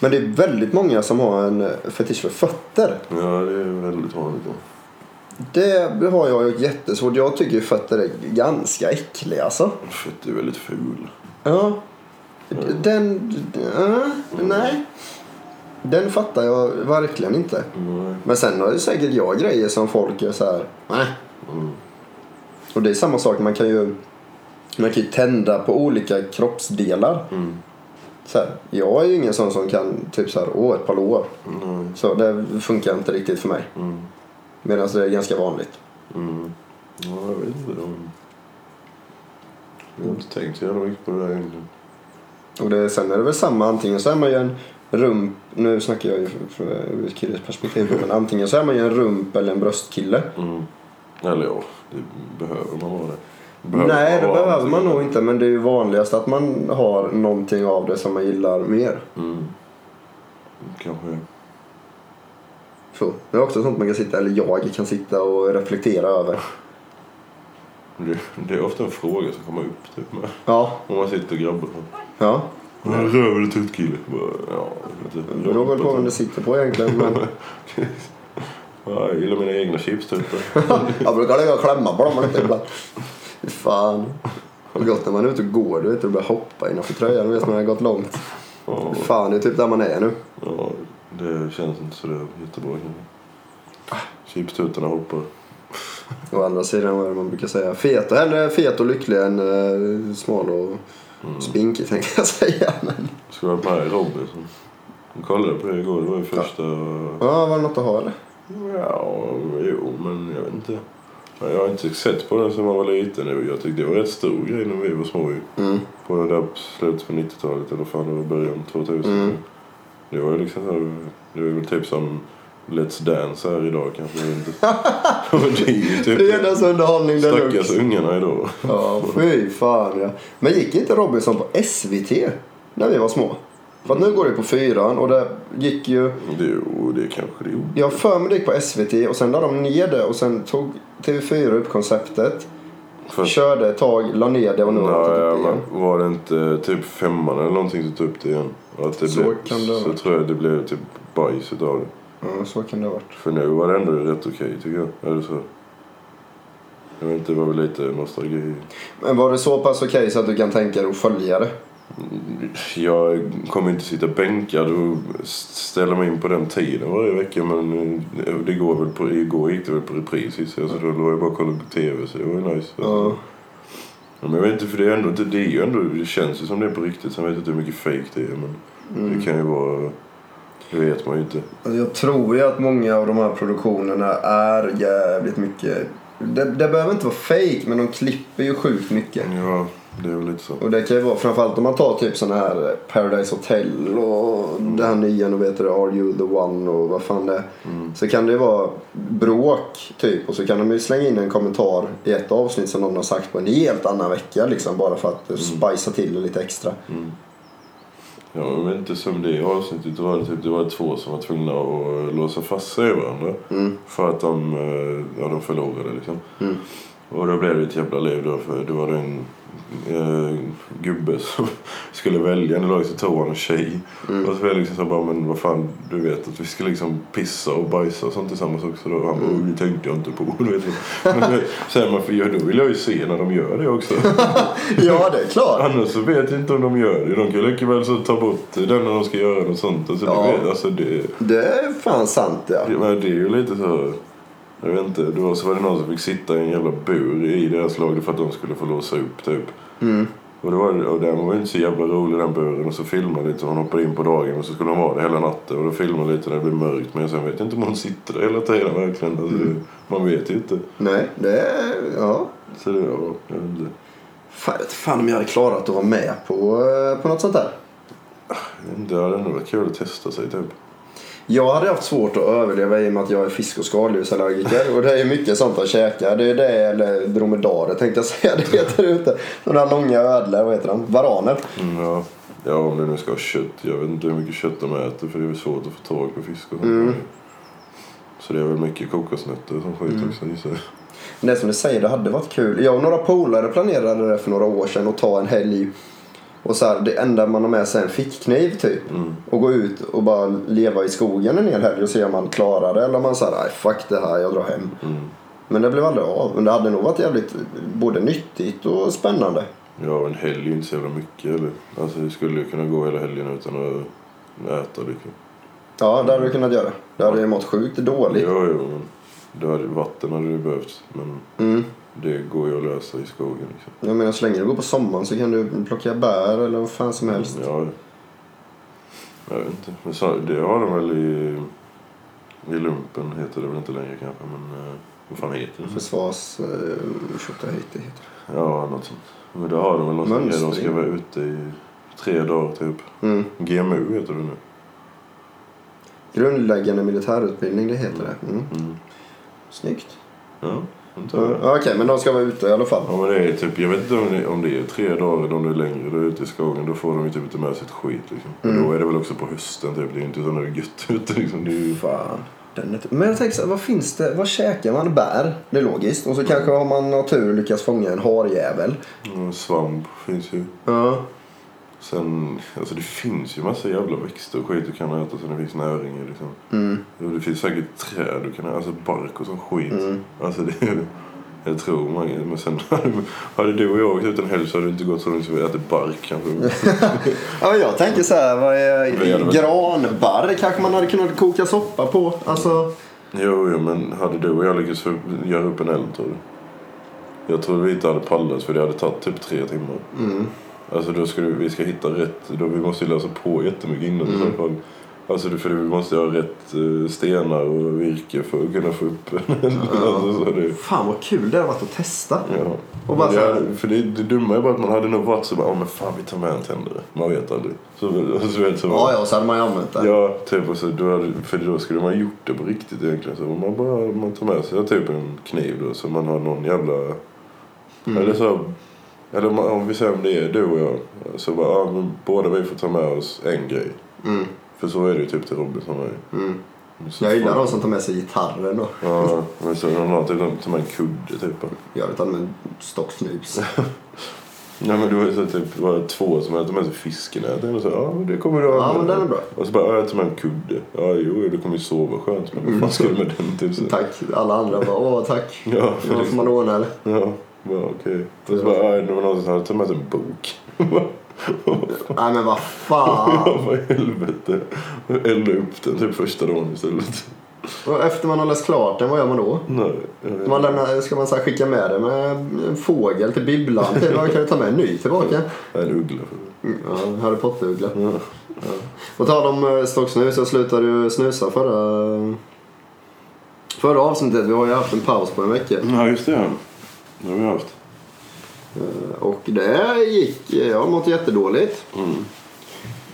Men det är väldigt många som har en fetisch för fötter.
Ja, det är väldigt vanligt. ja.
Det har jag jättesvårt. Jag tycker ju fötter är ganska äckliga alltså.
Fett är väldigt ful.
Ja. D- Den, ja, nej. Den fattar jag verkligen inte.
Nej.
Men sen har ju säkert jag grejer som folk är så här, nej.
Mm.
Och det är samma sak, man kan ju, man kan ju tända på olika kroppsdelar.
Mm.
Så här, jag är ju ingen sån som kan typ så här, åh ett par lår.
Nej.
Så det funkar inte riktigt för mig.
Mm.
Medan det är ganska vanligt.
Mm. Ja, jag vet inte. de- Jag har inte tänkt så jävla mycket på det där egentligen.
Och det, sen är det väl samma, antingen så är man ju en rump, nu snackar jag ju fr- fr- ur ett killes perspektiv, men antingen så är man ju en rump eller en bröstkille.
Mm. Eller ja, det behöver man vara det.
Nej, det
vara
behöver
någonting.
man nog inte, men det är ju vanligast att man har någonting av det som man gillar mer.
Mm. Kanske.
Så, det är också sånt man kan sitta, eller jag kan sitta och reflektera över.
Det, det är ofta en fråga som kommer upp typ med.
Ja,
Om man sitter och grabbar.
ja.
Mm. Röv eller tuttkille? Bara, Ja, lite.
Det beror väl på vem det sitter på egentligen. Men
Ja, jag gillar mina egna chips typ.
jag brukar lägga och klämma på dem men inte ibland. Fy Fan. Det är gott när man är ute och går, du vet, och börjar hoppa innanför tröjan. Då vet man att det har gått långt.
Ja,
Fy Fan, det är typ där man är nu.
ja, det känns inte sådär jättebra kanske. Chipstutarna hoppar.
Å andra sidan vad är det man brukar säga? Fet och, hellre fet och lycklig än eh, smal och spinkig tänkte jag säga. Men,
Ska vara med i Robinson. Jag kollade på det igår. Det var ju första...
ja, var det något att ha eller?
Ja, jo, men jag vet inte. Jag har inte sett på den sen man var liten. nu. Jag tyckte det var rätt stor grej när vi var små ju.
Mm.
På det där slutet på 90-talet eller fan det var början 2000.
Mm.
Det var ju liksom så här, det var väl typ som Let's Dance här idag kanske. Inte. Men det är ju typ
Fredagsunderhållning deluxe.
stackars ungarna idag.
Ja, fy fan ja. Men gick inte Robinson på SVT när vi var små? För att nu går det på fyran och det gick ju...
Det, jo, det kanske det gjorde.
Jag har för mig det gick på SVT och sen la de ner det och sen tog TV4 upp konceptet.
Fast,
Körde ett tag, la ner det och nu
nej,
har de tagit upp det
ja,
igen.
men var det inte typ femman eller någonting som tog upp det igen? Och Att det
Så
blev,
kan det ha
så
varit.
tror jag det blev typ bajs utav det.
Ja, så kan det ha varit.
För nu var det ändå rätt okej tycker jag. Eller så. Jag vet inte, det var väl lite nostalgi.
Men var det så pass okej så att du kan tänka dig att följa det?
Jag kommer inte sitta bänkad och ställa mig in på den tiden varje vecka men eh, det går väl på, igår gick det väl på repris sist så då var jag bara och kollade på tv så det var ju nice.
Ja.
Men jag vet inte för det är ändå, det, det är ju ändå, det känns ju som det är på riktigt. Sen vet jag inte hur mycket fake det är men det kan ju vara, det vet man ju inte.
Alltså, Jag tror ju att många av de här produktionerna är jävligt mycket... Det, det behöver inte vara fake men de klipper ju sjukt mycket.
Ja, det är väl lite så.
Och det kan ju vara framförallt om man tar typ såna här Paradise Hotel och det här nya, nu vet du det, Are You The One och vad fan det är. Så kan det ju vara bråk typ och så kan de ju slänga in en kommentar i ett avsnitt som någon har sagt på en helt annan vecka liksom bara för att spicea till det lite extra.
Ja, men jag vet inte som det avsnittet var det typ, det var två som var tvungna att låsa fast sig i varandra. För att de, eh, ja, de förlorade liksom. Och då blev det ett jävla liv då för det var det en eh, gubbe som skulle välja, nu laget så tog han en tjej. Och så var jag liksom så bara, men vad fan, du vet att vi ska liksom pissa och bajsa och sånt tillsammans också då. Han bara, "Oh, det tänkte jag inte på. Du vet. Men så här, man, för, ja, då vill jag ju se när de gör det också.
ja, det är klart.
Annars så vet jag inte om de gör det. De kan lika väl så ta bort den när de ska göra något sånt. Alltså,
Ja.
det, vet- alltså, det,
Det är fan sant ja.
det, men det är ju lite så... Jag vet inte. Då så var det någon som fick sitta i en jävla bur i deras lag för att de skulle få låsa upp typ. Och, det var, och den var ju inte så jävla rolig den buren. Och så filmade lite. Hon hoppade in på dagen och så skulle hon vara där hela natten. Och då filmade lite när det blev mörkt. Men sen vet jag inte om hon sitter där hela tiden verkligen. Alltså, Man vet ju inte.
Nej, det är... Ja.
Så det, ja, jag vet inte.
Fan, jag vet fan om jag hade klarat att vara med på, eh, på något sånt där.
Jag vet inte, Det hade ändå varit kul att testa sig typ.
Jag hade haft svårt att överleva i och med att jag är fisk och skaldjursallergiker. Och det är mycket sånt att käka. Det är det, eller dromedarer tänkte jag säga. Det heter det inte. De där långa ödlor, vad heter de? Varaner.
Mm, Ja. ja, om du nu ska ha kött. Jag vet inte hur mycket kött de äter för det är väl svårt att få tag på fisk och sånt. Så det är väl mycket kokosnötter som skit också gissar jag.
Men det är som du säger, det hade varit kul. Jag och några polare planerade det för några år sedan att ta en helg. Och så här, det enda man har med sig är en fickkniv typ.
Mm,
Och gå ut och bara leva i skogen en hel helg och se om man klarar det. Eller om man säger nej fuck det här, jag drar hem.
mm.
Men det blev aldrig av. Men det hade nog varit jävligt både nyttigt och spännande.
Ja, en helg är ju inte så jävla mycket eller? Alltså det skulle ju kunna gå hela helgen utan att äta liksom.
Ja, det hade du kunnat göra. Det hade ju mått sjukt dåligt.
Ja, ja, men det hade, vatten hade ju behövts. Men
Mm.
det går ju att lösa i skogen liksom.
Jag menar, så länge du går på sommaren så kan du plocka bär eller vad fan som helst.
Ja, jag vet inte. Men så, det har de väl i, i lumpen heter det väl inte längre kanske men eh, vad fan heter det?
Försvars... Eh, ursäkta, heter det.
Ja, något sånt. Men då har de väl något sånt där
Mönstring.
de ska vara ute i tre dagar typ.
Mm.
GMU heter det nu.
Grundläggande militärutbildning, det heter det. Mm.
Mm.
Snyggt.
Ja, inte
Ja,
det.
Okej, men de ska vara ute i alla fall.
Ja, men det är typ, jag vet inte om det, om det är tre dagar eller om det är längre. Då är ute i skogen, då får de ju typ inte med sig ett skit. Liksom. Och då är det väl också på hösten typ. Det är ju inte så när det är gött ute liksom. Det är ju...
Fan. Den är t- men jag tänker så här, vad finns det? Vad käkar man? Bär? Det är logiskt. Och så kanske har man har tur och lyckas fånga en harjävel.
ja, Svamp finns ju.
Ja.
Sen, alltså det finns ju massa jävla växter och skit du kan äta så det finns näring i liksom.
Mm.
Och det finns säkert träd du kan äta, alltså bark och sån skit. Alltså det är jag tror man, men sen hade du och jag åkt ut en helg så hade det inte gått så långt som vi ätit bark kanske.
Ja, men jag tänker så här, vad
Det är det
är
väl.
granbarr? Kanske man hade kunnat koka soppa på. Alltså,
jo, jo, men hade du och jag lyckats för- göra upp en eld tror du? Jag tror vi inte hade pallat för det hade tagit typ tre timmar. Alltså då skulle vi, vi ska hitta rätt, då vi måste ju läsa på jättemycket innan i så fall. Alltså du- för du måste ha rätt eh, stenar och virke för att kunna få upp en. alltså, så det,
Fan vad kul det hade varit att testa.
ja.
Och bara
Men det,
så här-
är- för det, det dumma är bara att man hade nog varit så bara, ja men fan vi tar med en tändare. Man vet aldrig. Så, så, vet, så,
Ja, ja, så hade man ju använt det.
Ja, typ. Och så, då hade, för då skulle man ha gjort det på riktigt egentligen. Så man bara man tar med sig typ en kniv då så man har någon jävla...
Mm.
Eller så... Eller om- om vi säger om det är du och jag. Så bara, ja, men båda vi får ta med oss en grej.
Mm,
För så är det ju typ till Robinson och mig.
mm.
Så
Jag gillar
får-
de som tar med sig gitarren och
Ja, men så någon annan typ, de tar med en kudde typ.
gör det utan en stock snus.
Ja men det var ju så typ, det var två som hade tagit med sig fiskenät. Och så, ja men det kommer du ha.
Ja, men den är bra.
Och så bara, ja, jag tar med en kudde. Ja, jo, du kommer ju sova skönt. Men vad fan ska du med den till? Så-
Tack. Alla andra bara, åh tack.
Ja,
Det var som man ordnar eller?
Ja, bara okej. Och så bara, nej, det var någon som hade tagit med sig en bok.
Nej men vad fan.
Vad i helvete. Elda upp den typ första dagen istället.
Och efter man har läst klart den, vad gör man då?
Nej, jag vet
Man
inte.
lämnar, ska man så här skicka med den med en fågel till bibblan? Till, vad kan du ta med en ny tillbaka?
Nej, en uggla. för det.
Mm, Ja, Harry Potter-uggla. Ja. På tal om eh, stocksnus, jag slutade ju snusa förra, förra avsnittet. Vi har ju haft en paus på en vecka.
Ja, just det. ja. Det har vi haft.
Och det gick, jag har mått jättedåligt.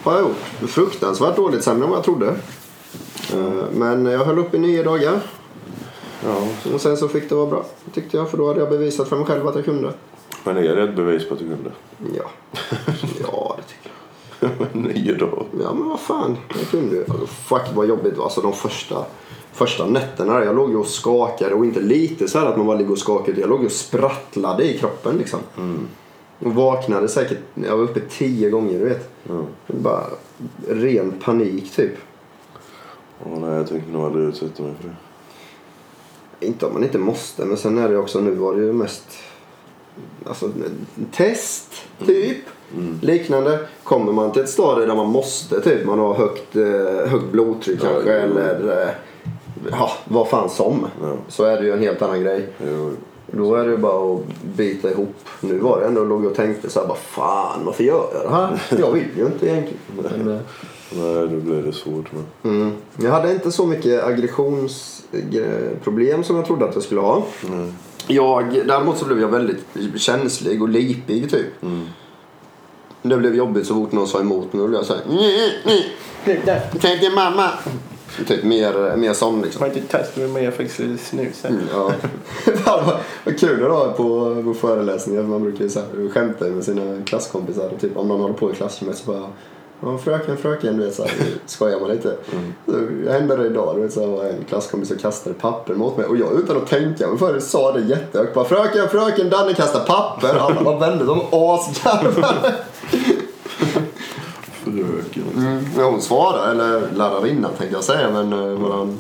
Har jag gjort. Fruktansvärt dåligt, sämre än vad jag trodde. Eh, Men jag höll upp i nio dagar.
Ja.
Och sen så fick det vara bra, tyckte jag. För då hade jag bevisat för mig själv att jag kunde.
Men är det ett bevis på att du kunde?
Ja, ja det tycker jag.
Nio dagar.
Ja men vad fan, jag kunde ju. Alltså, fuck vad jobbigt det var. alltså de första, första nätterna. där, Jag låg ju och skakade och inte lite så här att man bara ligger och skakar. utan Jag låg ju och sprattlade i kroppen liksom. Och vaknade säkert, jag var uppe tio gånger du vet. Bara ren panik typ.
Åh nej, jag tänker nog aldrig utsätta mig för det.
Inte om man inte måste men sen är det också nu var det ju mest alltså test typ.
Mm.
Liknande. Kommer man till ett stadie där man måste typ man har högt, eh, högt blodtryck
Ja,
kanske
jo.
eller eh, ja, vad fan som.
Ja.
Så är det ju en helt annan grej.
Jo.
Då är det ju bara att bita ihop. Nu var det ändå låg jag och tänkte så här bara fan varför gör jag det här? Jag vill ju inte egentligen. Men, eh,
Nej, då blir det svårt. Men...
Mm. Jag hade inte så mycket aggressionsproblem som jag trodde att jag skulle ha. Jag, däremot så blev jag väldigt känslig och lipig typ. Det blev jobbigt så fort någon sa emot mig. Då blev jag såhär... "Nej, nej, sluta. Tänker mamma. Typ mer, mer sån liksom.
inte testat mig men jag fick lite snus här.
Mm, Ja. Fan, vad- vad kul det var på, på föreläsningar. Man brukar ju så här, skämta med sina klasskompisar. Typ, om någon håller på i klassrummet så bara Ja, fröken, fröken, du vet så här, skojar man lite. Mm. Jag hände det idag, du vet så här, var en klasskompis som kastade papper mot mig och jag utan att tänka mig för det sa det jättehögt bara fröken, fröken, Danne kastar papper. Alla bara vände de asgarvade.
Fröken.
Men hon svarade, eller lärarinnan tänkte jag säga, men eh, våran...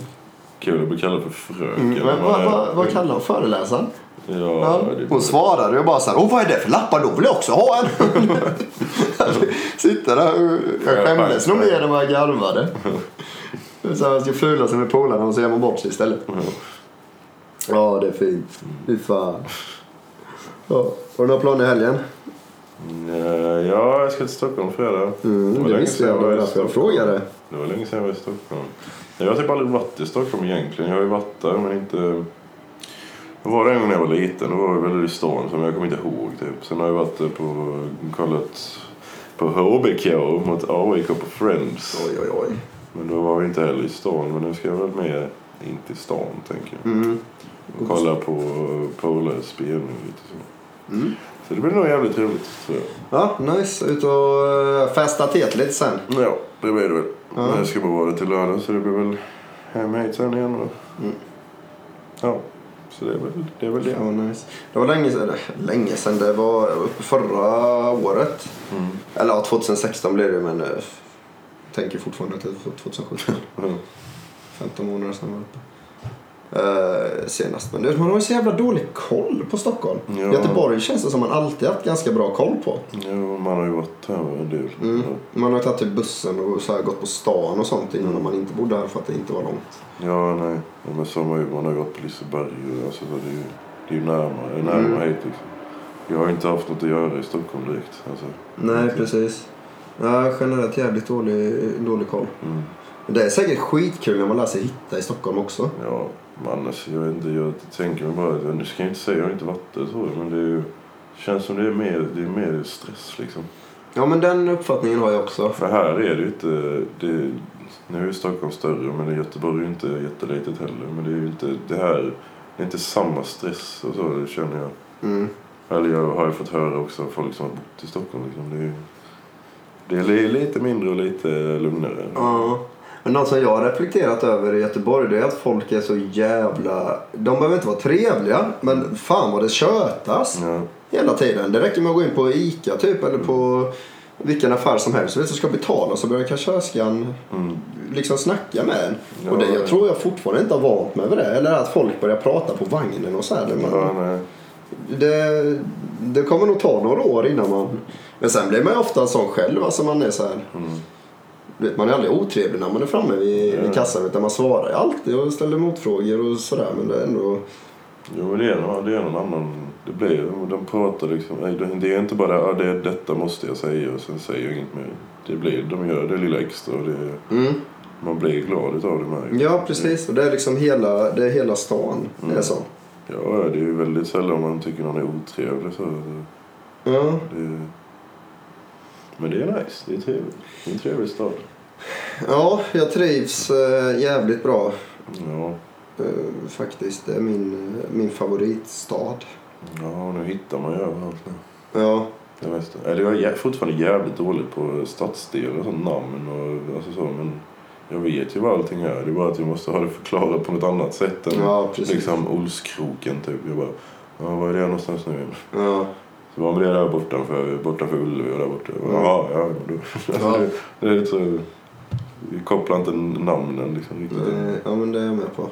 Kul att bli kallad för fröken.
Men Mm. vad,
när man är-
vad, vad kallar hon föreläsaren?
Ja,
Ja,
det...
hon svarade och jag bara så här, Åh, vad är det för lappar? Då vill jag också ha en. Sitter där och jag skämdes nog mer än vad jag garvade. Så här, jag ska fula sig med polarna och så gör man bort sig istället. Ja, det är fint. Fy fan. Ja, har du några planer i helgen?
Nej, Ja, jag ska till Stockholm fredag.
Mm, det
länge
visste
sedan
jag, det var
var i
därför jag
Stockholm.
frågade.
Det var länge sedan jag var i Stockholm. Jag har typ aldrig varit i Stockholm egentligen. Jag har ju varit där men inte... Jag var där en gång när jag var liten. Då var vi väl i stan som jag kommer inte ihåg typ. Sen har jag varit där på... kollat på HBK mot AIK på Friends.
Oj, oj, oj.
Men då var vi inte heller i stan. Men nu ska jag väl med in till stan tänker jag.
Mm.
Och kolla på eh, polares spelning lite så.
Mm.
Så det blir nog jävligt trevligt tror jag.
Ja, nice. Ut och eh, festa teet lite sen.
Ja, det blir det väl.
Ja.
Men jag ska bara vara där till lördag så det blir väl hem hit sen igen. Och... Ja, så det är väl det. Är väl
Ja,
det.
vad nice. Det var länge sedan, länge sedan det var förra året.
Mm.
Eller ja, 2016 blev det men eh, jag tänker fortfarande att det var 2017.
Mm.
15 månader sedan var det. Eh, senast. Men det- man har ju så jävla dålig koll på Stockholm.
Ja.
Göteborg känns det som man alltid haft ganska bra koll på.
Jo, man har ju varit här en del.
Mm.
Ja.
Man har tagit typ bussen och så här gått på stan och sånt innan när man inte bodde här för att det inte var långt.
Ja, nej. Ja, men så har man, ju, man har ju varit på Liseberg. och Alltså, så det, är ju, det är ju närmare, närmare hit liksom. Jag har inte haft något att göra i Stockholm direkt. Alltså.
Nej, precis. Ja, generellt jävligt dålig, dålig koll.
Mm.
Det är säkert skitkul när man lär sig hitta i Stockholm också.
Ja, men annars, jag vet inte, jag tänker mig bara, att- nu ska jag inte säga, jag har inte varit där så, men det är ju, känns som det är mer, det är mer stress liksom.
Ja men den uppfattningen har jag också.
För här är det ju inte, det, nu är Stockholm större, men Göteborg är ju inte jättelitet heller, men det är ju inte, det här, det är inte samma stress och så, det känner jag.
Mm.
Eller jag har ju fått höra också av folk som har bott i Stockholm liksom, det är ju, det är lite mindre och lite lugnare.
Ja. Men något som jag har reflekterat över i Göteborg det är att folk är så jävla... De behöver inte vara trevliga men fan vad det tjötas
Ja.
hela tiden. Det räcker med att gå in på ICA typ eller på vilken affär som helst. Du vet, så ska betala så börjar kassörskan
Mm.
liksom snacka med en.
Ja,
och det, jag
ja.
tror jag fortfarande inte har vant mig vid det. Eller att folk börjar prata på vagnen och så här. Det-
Ja, nej.
det, det kommer nog ta några år innan man... Men sen blir man ju ofta sån själv. Alltså man är så här,
Mm.
du vet, man är aldrig otrevlig när man är framme vid,
Ja.
vid kassan. Utan man svarar ju alltid och ställer motfrågor och sådär. Men det är ändå...
Jo, men det är någon, det är någon annan. Det blir, de pratar liksom. nej, det- Det är inte bara ja, det, detta måste jag säga och sen säger jag inget mer. Det blir, de gör det lilla extra och det, man blir glad utav det med.
Ja, precis. Och det är liksom hela, det är hela stan. Det är
Mm.
så.
Ja, det är ju väldigt sällan man tycker någon är otrevlig så.
Ja.
Det, men det är nice, det är trevligt. Det är en trevlig stad.
ja, jag trivs eh, jävligt bra
Ja,
eh, faktiskt. Det är min, eh, min favoritstad.
ja nu hittar man ju överallt nu.
Ja.
Det mesta. Eller jag är jä- fortfarande jävligt dålig på stadsdelar och sånt, namn och alltså så, men jag vet ju vad allting är. Det är bara att jag måste ha det förklarat på något annat sätt än
Ja, precis.
liksom Olskroken typ. Jag bara, ja, var är det någonstans nu igen?
Ja.
Så var det där bortanför, bortanför Ullevi och där borta. Jag bara, Jaha, ja. men då- Alltså,
Ja.
Det, det är så, jag kopplar inte namnen liksom riktigt.
Nej, Eh, ja men det är jag med på.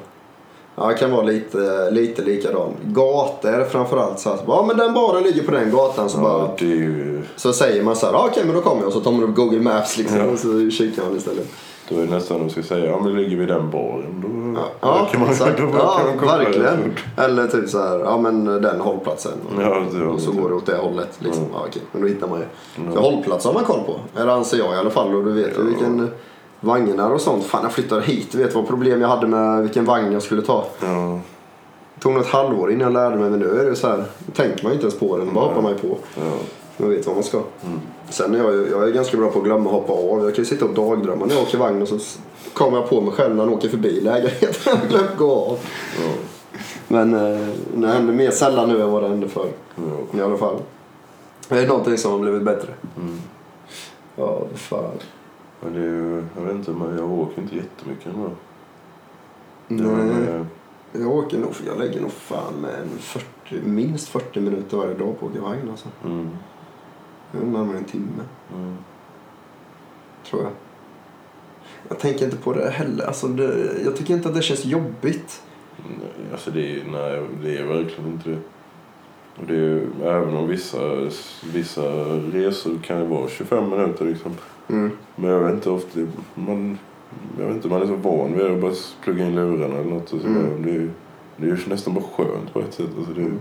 Ja, det kan vara lite, lite likadan. Gator framförallt. Så här, ja men den baren ligger på den gatan. Så, bara,
ja, det är ju,
så säger man så här, ja, okej men då kommer jag. Och så tar man upp Google Maps liksom.
Ja.
Och så kikar man istället.
då är det nästan de ska säga, ja men ligger vi i den baren då,
Ja,
då
ja
kan man,
exakt.
då
ja,
kan man koppla det
verkligen.
fort.
Eller typ så här, ja men den hållplatsen. Och,
Ja, det var
och så
lite-
går det åt det hållet. Liksom. Ja, okej, men då hittar man ju. Så
Ja.
hållplatser har man koll på. Eller anser jag i alla fall. Och du vet ju
Ja.
vilken vagnar och sånt. Fan jag flyttar hit. Du vet vad problem jag hade med vilken vagn jag skulle ta.
Ja.
tog något halvår innan jag lärde mig, men nu är det ju så här. Tänker man ju inte ens på den, bara hoppar man ju på.
Ja, Mm.
Man vet vad man ska. Sen är jag, ju- jag är ganska bra på att glömma att hoppa av. Jag kan ju sitta och dagdrömma när jag åker vagn och så s- kommer jag på mig själv när han åker förbi lägenheten. Jag har glömt gå av.
ja,
Men eh, det händer mer sällan nu än vad det hände förr.
ja.
I alla fall. Det är någonting som har blivit bättre. Ja, fan.
Mm. Men det är ju, jag vet inte, men jag åker inte jättemycket ändå.
Nej.
Men, eh,
Jag åker nog, jag lägger nog fan med en 40, minst 40 minuter varje dag på att åka vagn alltså.
Mm,
Det är närmare en timme.
mm.
tror jag. Jag tänker inte på det heller. Alltså, det, jag tycker inte att det känns jobbigt.
Nej, Alltså det är, nej, det är verkligen inte det. Och det är ju, även om vissa, vissa resor kan ju vara 25 minuter liksom. Men jag vet inte ofta, man, jag vet inte, man är så van vid att bara plugga in lurarna eller något. Och så
Mm.
det, är ju- det är ju nästan bara skönt på ett sätt. Alltså det,
Mm.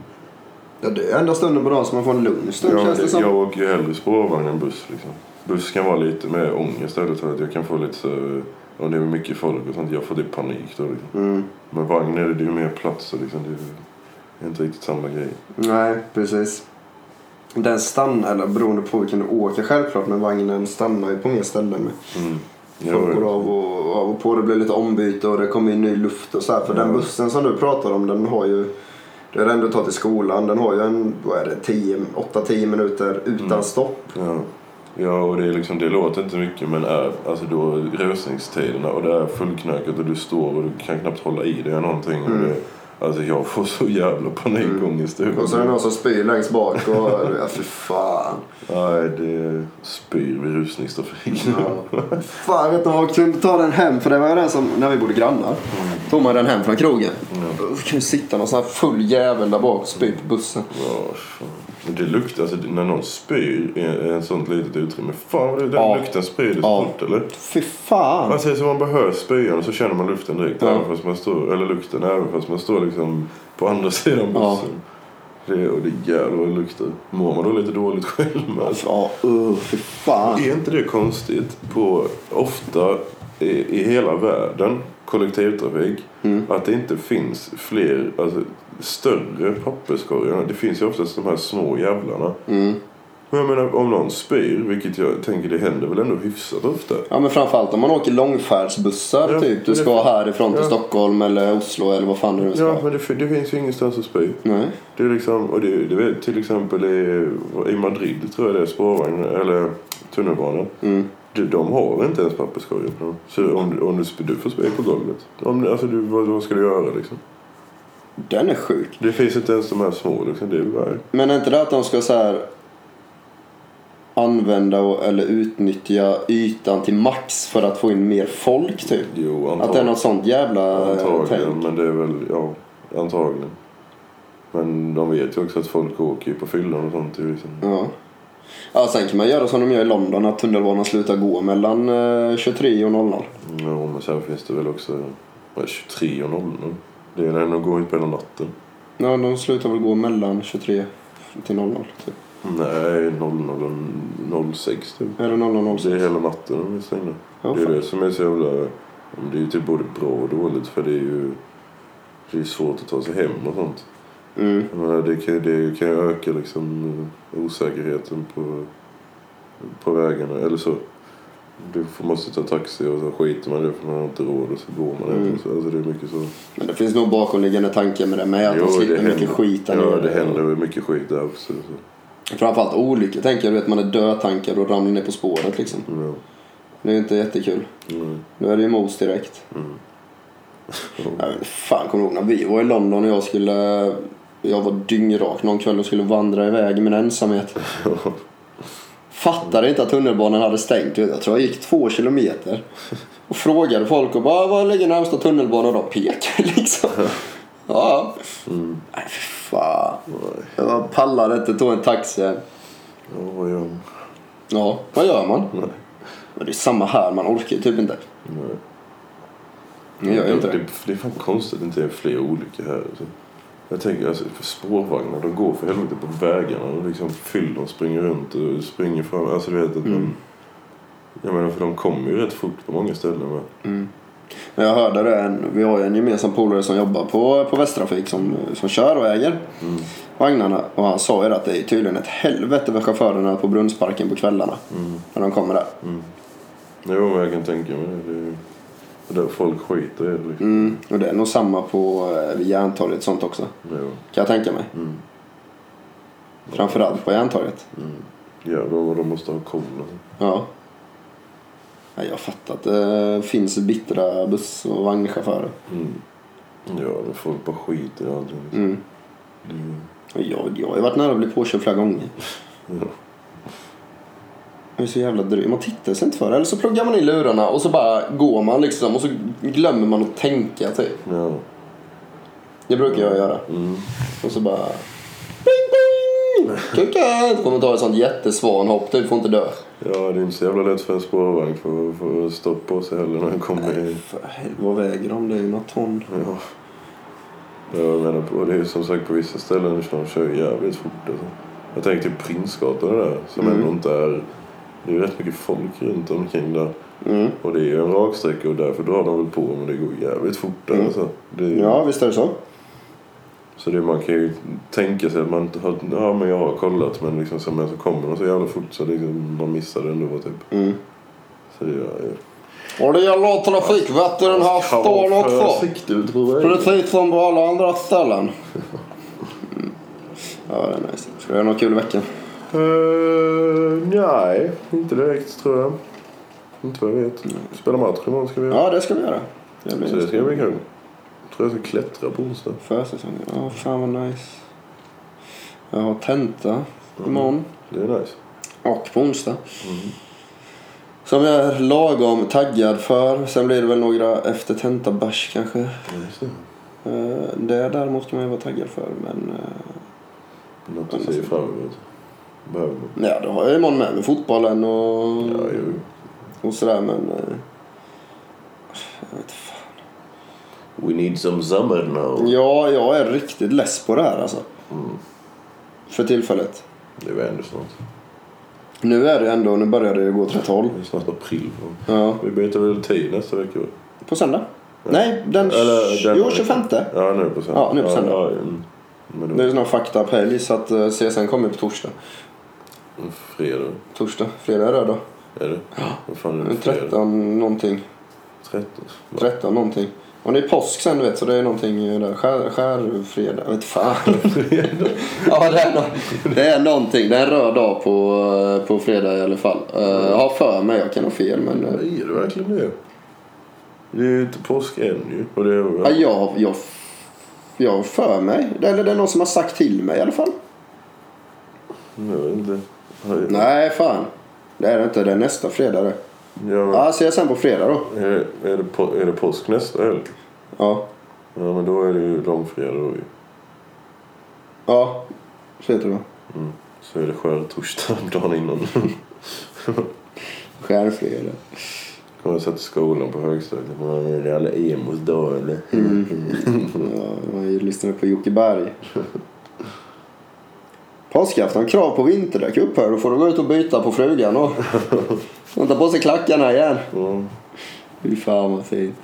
Ja, det är enda stunden på dagen som man får en lugn stund
jag,
känns det som.
jag åker ju hellre spårvagn än buss. Liksom. Buss kan vara lite mer ångest eller så att jag kan få lite så, om det är mycket folk och sånt, jag får typ panik då. Liksom.
Mm.
Men vagn är det ju mer plats och liksom, det är inte riktigt samma grej.
Nej, precis. Den stannar, eller beroende på vilken du åker självklart, men vagnen stannar ju på mer ställen. Med.
Mm.
Folk
Ja,
går av och, av och på, det blir lite ombyte och det kommer in ny luft och så här. För den
Ja.
bussen som du pratar om, den har ju... Det är den du tar till skolan, den har ju en, vad är det, 10 8-10 minuter utan
Mm.
stopp.
ja. ja, och det, är liksom, det låter inte mycket men är, alltså då är rusningstiderna och det är fullknökat och du står och du kan knappt hålla i dig någonting. Och
Mm.
det, alltså jag får så jävla panikångest. Mm.
Och så är det någon som spyr längst bak och ja, fy fan.
Nej, det spyr vid rusningstrafik.
Ja. Fan vet du vad, jag kunde ta den hem för det var ju den som, när vi bodde grannar. Tog man den hem från krogen.
Mm.
Då kunde sitta någon sån här full jävel där bak och spy på bussen.
Ja, fan. Men Det luktar, alltså när någon spyr i en- i ett sånt litet utrymme. Fan vad det, den
Ja.
lukten sprider sig
Ja.
fort eller?
Fy fan.
Man säger som man bara hör spyan och så känner man luften direkt.
Ja.
Även fast man står, eller lukten, även fast man står liksom på andra sidan
Ja.
bussen. Det, och det är jävlar vad det luktar. Mår man då lite dåligt själv alltså? med?
Ja, uh, fy fan.
Är inte det konstigt på ofta i, i hela världen, kollektivtrafik,
Mm.
att det inte finns fler, alltså större papperskorgar. Det finns ju oftast de här små jävlarna.
Mm.
Men jag menar om någon spyr, vilket jag tänker det händer väl ändå hyfsat ofta.
Ja men framförallt om man åker långfärdsbussar
Ja,
typ. Du
det-
ska härifrån till
ja.
Stockholm eller Oslo eller vad fan du nu ska.
Ja, men det, fin- det finns ju ingenstans att spy.
Nej.
Det är liksom, och det, det är till exempel i, i Madrid tror jag det är spårvagn, eller tunnelbanan.
Mm.
Du, de har inte ens papperskorgar på dem. Så om, om du, spyr- du får spy på golvet. Om, alltså, du, vad, vad ska du göra liksom?
Den är sjuk.
Det finns inte ens de här små liksom. Det är ju bara...
Men är inte det att de ska så här använda och, eller utnyttja ytan till max för att få in mer folk typ?
Jo,
Att det är
antagligen.
något sånt jävla eh,
antagligen
tänk.
men det är väl, ja, antagligen. Men de vet ju också att folk åker ju på fyllan och sånt. det är ju Liksom.
Ja. ja, sen kan man göra som de gör i London att tunnelbanan slutar gå mellan eh, 23 och 00.
Ja, men sen finns det väl också vad, 23 och 0 nu. Det är när de går ut på hela natten.
Ja, de slutar väl gå mellan 23 till 00 typ.
Nej, 00 och 06 typ.
Eller 00
Det är
06.
hela natten de är stängda.
Ja,
det är
fan.
det som är så jävla... Det är ju typ både bra och dåligt för det är ju... Det är svårt att ta sig hem och sånt.
Mm.
Jag menar, det, kan, det kan ju öka liksom osäkerheten på, på vägarna eller så. Du får, måste ta taxi och så skiter man i det för man har inte råd och så går man
Mm.
mm. så, Alltså det är mycket så.
Men det finns nog bakomliggande tankar med det med. Att
Jo,
de slipper mycket
händer-
skit där
Ja,
nere.
det händer väl mycket skit där också. Så.
Framförallt olyckor tänker jag. Du vet, man är dödtankad och ramlar ner på spåret liksom.
Ja.
Det är ju inte jättekul.
Mm.
Nu är det ju mos direkt.
Mm.
Jag vet, inte, fan, kommer du ihåg när vi var i London och jag skulle... Jag var dyngrak någon kväll och skulle vandra iväg i min ensamhet. Fattade inte att tunnelbanan hade stängt. Jag tror jag gick två kilometer. Och frågade folk och bara var ligger närmsta tunnelbana? Och de pekade liksom. Ja.
Mm.
Nej, fy fan.
Nej.
Jag pallade inte, tog en taxi.
Ja, vad gör man?
Ja, vad gör man?
Nej.
Men det är samma här, man orkar ju typ inte.
Nej.
Jag gör ju inte
det,
det.
det, det är fan konstigt att det inte är fler olyckor här. Alltså. Jag tänker alltså, för spårvagnar, de går för helvete på vägarna och liksom fyller och springer runt och springer fram. Alltså du vet att
Mm.
de... Jag menar för de kommer ju rätt fort på många ställen med.
Men jag hörde det, en, vi har ju en gemensam polare som jobbar på, på Västtrafik som, som kör och äger
Mm,
vagnarna. Och han sa ju det att det är tydligen ett helvete för chaufförerna på Brunnsparken på kvällarna.
mm,
När de kommer där.
Jo, men jag kan tänka mig det. det är ju- och där folk skiter i det liksom.
Mm. Och det är nog samma på eh, vid Järntorget och sånt också.
Ja.
Kan jag tänka mig.
Mm.
Framförallt på Järntorget.
Jävlar vad de måste ha koll. Alltså.
Ja. Nej, jag fattar att det finns bittra buss och vagnchaufförer.
Mm. Ja, men folk bara skiter i allting. Liksom.
Mm.
Det är ju-
Och Jag, jag har ju varit nära att bli påkörd flera gånger.
Ja.
Jag är så jävla dryg. Man tittar sig inte för det. Eller så pluggar man i lurarna och så bara går man liksom och så glömmer man att tänka typ.
Ja.
Det brukar jag göra.
Mm.
Och så bara... Bing, bing! Kuka! Kommer ta ett sånt jättesvanhopp typ, får inte dö.
Ja, det är inte så jävla lätt för en spårvagn för att få stopp på sig heller när den kommer i...
För helvete, vad väger de? Det är ju något ton.
Ja. Ja, Jag menar på, det är ju som sagt på vissa ställen så de kör jävligt fort alltså. Jag tänkte Prinsgatan där som
Mm.
ändå inte är... Det är ju rätt mycket folk runt omkring där.
Mm.
Och det är ju en raksträcka och därför drar de väl på men det går jävligt fort där
Mm.
alltså. Det är,
Ja, visst är det så.
Så det, man kan ju tänka sig att man inte har... Ja men jag har kollat men liksom så, men så kommer de så jävla fort så liksom, man missar det ändå typ.
Mm.
Så det gör jag ju.
Och det gäller att trafikvett i den här stan också.
Försiktig ut på vägen.
Precis som på alla andra ställen. Mm. Ja, det är nice. Ska du göra något kul i veckan?
Eh, nej, inte direkt tror jag. Inte vad jag vet. Spela match imorgon ska vi göra.
Ja, det ska vi göra. Det
Så det
blir
ska bli kul. tror jag ska klättra på onsdag.
försäsongen. Ja, fan vad nice. Jag har tenta imorgon
Det är nice. Mm.
och på onsdag. Som jag är lagom taggad för. Sen blir det väl några efter tenta-bärs kanske. Eh, Det däremot kan man ju vara taggad för. Men eh,
Något att se fram emot. Behöver man.
ja, då har jag imorgon med mig fotbollen och,
Ja, jo.
och sådär. Men eh, jag vet fan.
We need some summer now.
Ja, jag är riktigt less på det här alltså.
Mm.
För tillfället.
Det vänder snart.
Nu är det ändå, nu börjar det ju gå åt rätt håll.
Det är snart april. va?
Ja.
Vi byter väl tid nästa vecka? va?
På söndag? Nej, den,
Eller den-
jo, 25.
Ja, nu på söndag.
Ja, nu på söndag.
Ja, ja, mm. men det
Det är
var
ju sån här fucked up helg så att eh, CSN kommer på torsdag.
en fredag.
Torsdag, fredag är röd
Är det? Vad fan är det?
dag.
fredag?
13 någonting.
13.
13 någonting. Och det är påsk sen du vet så det är någonting eh, där. Skär, skärfredag. Jag vet fan. ja det är, nå- det är någonting. Det är en röd dag på, eh, på fredag i alla fall. Eh, Jag har för mig. Jag kan ha fel men. eh,
Nej, är det verkligen det? Det är ju inte påsk än ju. Och det är,
Ja, jag, jag, jag har för mig. Eller det är någon som har sagt till mig i alla fall.
Jag vet inte.
Nej fan. Det är det inte. Det är nästa fredag det.
Ja, men,
Ja CSN på fredag då.
är, är, det på, är det påsk nästa helg?
Ja.
Ja, men då är det ju långfredag då ju.
Ja. Så heter det va?
Så är det skärtorsdag dagen innan.
Skärfredag.
Kommer jag sätta skolan på högstadiet. Man är det alla emos dag eller?
Ja, jag lyssnade på Jocke Berg. Påskafton, krav på vinterdäck. Upphör, då får du gå ut och byta på frugan och och ta på sig klackarna igen.
Mm.
Fy fan vad fint.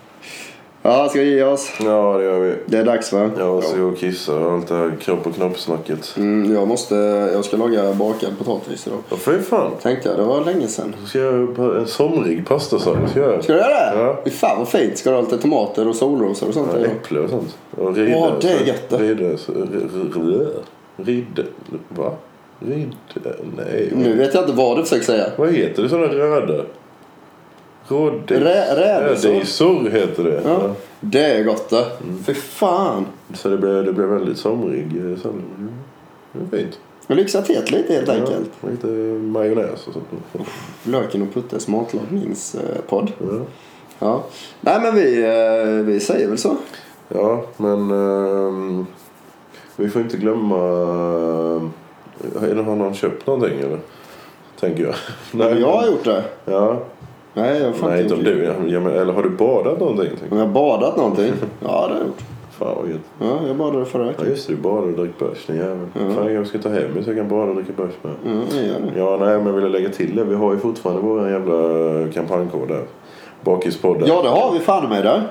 Ja, ska vi ge oss?
Ja, det gör vi.
Det är dags va?
Ja, så jag kissar och allt det här kropp och knoppsnacket.
Mm, jag måste, jag ska laga bakad potatis idag.
Ja, fy fan.
Tänkte jag, det var länge sedan.
Så ska jag göra pa- en somrig pastasallad. Ska jag göra.
Ska du göra det?
Ja.
Fy fan vad fint. Ska du ha lite tomater och solrosor och sånt?
Ja,
eller?
äpple och sånt. Och ridde,
Åh, det är gött det.
Ridde, ridde, ridde, va? Ridde, nej.
Nu vet jag inte vad du försöker säga.
Vad heter det sådana röda? Rådis,
Rä- rädisor.
rädisor heter det.
Ja. Det är gott det.
Mm.
Fy fan.
Ja. Så det blev, det blev väldigt somrig eh, sallad. Mm. Det är fint.
Jag lyxar till det lite helt enkelt.
Ja, lite majonnäs och sånt.
Löken och Puttes matlagningspodd.
Ja.
Ja. Nej men vi, eh, vi säger väl så.
Ja, men ehm, vi får inte glömma... Eller har någon köpt någonting eller? Tänker jag.
jag har gjort det.
Ja.
Nej jag har fan
Nej, inte om
gjort
du. Ja, men, eller har du badat någonting? Tänker
det. Om jag har badat någonting? ja det har jag gjort.
jag. Fan vad gött.
Ja, jag badade förra
Ja
veckan.
just det, du badar och dricker bärs din jävel. Fan jag ska ta hem mig så jag kan bada och dricka bärs med.
Ja, jag gör det.
Ja nej men jag ville lägga till det. Vi har ju fortfarande våran jävla kampanjkod där. Bakispodden.
Ja det har vi fan med där.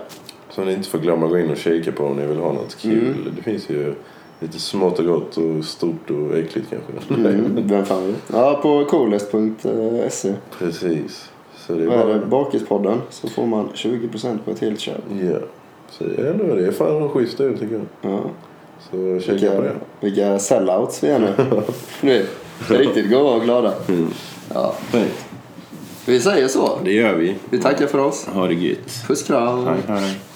Så ni inte får glömma att gå in och kika på om ni vill ha något kul.
Mm.
Det finns ju lite smått och gott och stort och äckligt kanske.
Mm, vem fan vet. Ja på eh, coolest.se.
Precis. Så det är
Vad är det?
bara...
Bakispodden. Så får man 20% på ett helt köp.
Ja. Så ja, nu är det fan schysst ut tycker jag.
Ja.
Så kika på
Vilka,
det.
vilka sellouts vi är nu. nu är vi riktigt goa och glada. Ja. Vi säger så.
Mm. Det gör vi.
Vi tackar för oss.
Ha det gött.
Puss kram.
hej.